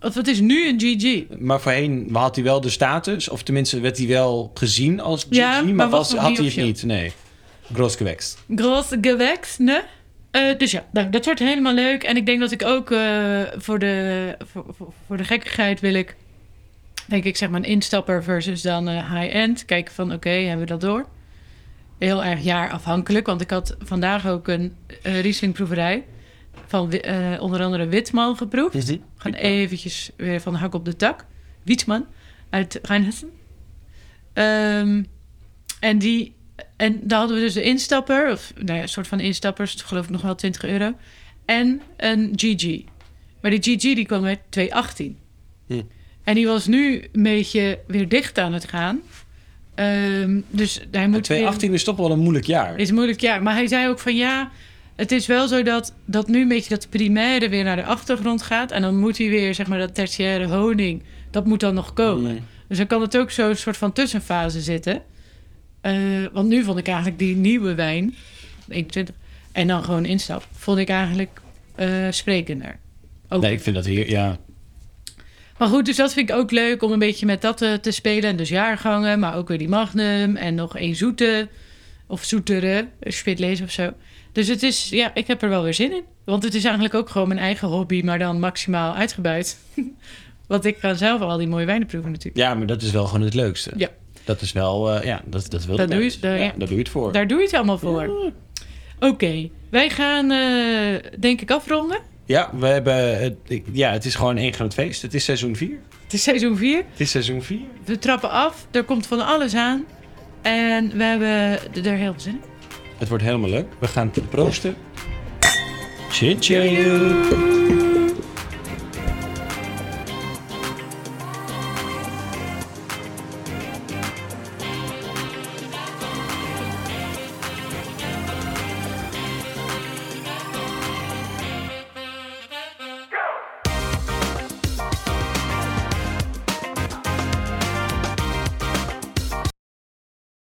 [SPEAKER 2] Of het is nu een GG.
[SPEAKER 1] Maar voorheen had hij wel de status. Of tenminste werd hij wel gezien als GG.
[SPEAKER 2] Ja,
[SPEAKER 1] maar
[SPEAKER 2] maar was
[SPEAKER 1] was,
[SPEAKER 2] nog
[SPEAKER 1] had
[SPEAKER 2] niet
[SPEAKER 1] hij het
[SPEAKER 2] officieel.
[SPEAKER 1] niet. Nee. Gross gewächst.
[SPEAKER 2] Groot gewekt, ne? Eh, dus ja, nou, dat wordt helemaal leuk. En ik denk dat ik ook eh, voor, de, voor, voor, voor de gekkigheid wil ik... Denk ik zeg maar een instapper versus dan eh, high-end. Kijken van oké, hebben we dat door? Heel erg jaarafhankelijk. Want ik had vandaag ook een eh Riesling-proeverij. Van wi- eh, onder andere Witman geproefd.
[SPEAKER 1] Is dit?
[SPEAKER 2] We gaan eventjes weer van de hak op de tak. Wietman uit Rijnhessen. Ehm, en die... En daar hadden we dus de instapper, of nou ja, een soort van instappers, geloof ik nog wel 20 euro. En een GG. Maar die GG die kwam met 218.
[SPEAKER 1] Hm.
[SPEAKER 2] En die was nu een beetje weer dicht aan het gaan. Ehm, dus hij moet.
[SPEAKER 1] 218 is toch wel een moeilijk jaar.
[SPEAKER 2] weer- Is moeilijk, ja. Maar hij zei ook van ja. Het is wel zo dat, dat nu een beetje dat primaire weer naar de achtergrond gaat. En dan moet hij weer, zeg maar, dat tertiaire honing. Dat moet dan nog komen.
[SPEAKER 1] Nee.
[SPEAKER 2] Dus dan kan het ook zo'n soort van tussenfase zitten. Eh, want nu vond ik eigenlijk die nieuwe wijn, 21, en dan gewoon instap, vond ik eigenlijk eh, sprekender. Ook.
[SPEAKER 1] Nee, ik vind dat hier... Ja.
[SPEAKER 2] Maar goed, dus dat vind ik ook leuk om een beetje met dat eh, te spelen. En dus jaargangen, maar ook weer die magnum en nog één zoete of zoetere, eh, spitlees of zo. Dus het is, ja, ik heb er wel weer zin in. Want het is eigenlijk ook gewoon mijn eigen hobby, maar dan maximaal uitgebuit. want ik ga zelf al die mooie wijnen proeven natuurlijk.
[SPEAKER 1] ja, maar dat is wel gewoon het leukste.
[SPEAKER 2] Ja.
[SPEAKER 1] Dat is wel... eh, ja, dat, dat wil
[SPEAKER 2] Daar
[SPEAKER 1] de
[SPEAKER 2] doe je-
[SPEAKER 1] mens.
[SPEAKER 2] daar-
[SPEAKER 1] ja,
[SPEAKER 2] ja.
[SPEAKER 1] Daar doe je het voor.
[SPEAKER 2] Daar doe je het allemaal voor. Oké, wij gaan eh, denk ik afronden.
[SPEAKER 1] Ja, we hebben... Het, ik- ja, het is gewoon één groot feest. Het is seizoen 4.
[SPEAKER 2] Het is seizoen 4.
[SPEAKER 1] Het is seizoen 4.
[SPEAKER 2] We trappen af, er komt van alles aan. En we hebben d- er heel veel zin in.
[SPEAKER 1] Het wordt helemaal leuk. We gaan proosten. Tjin tjin.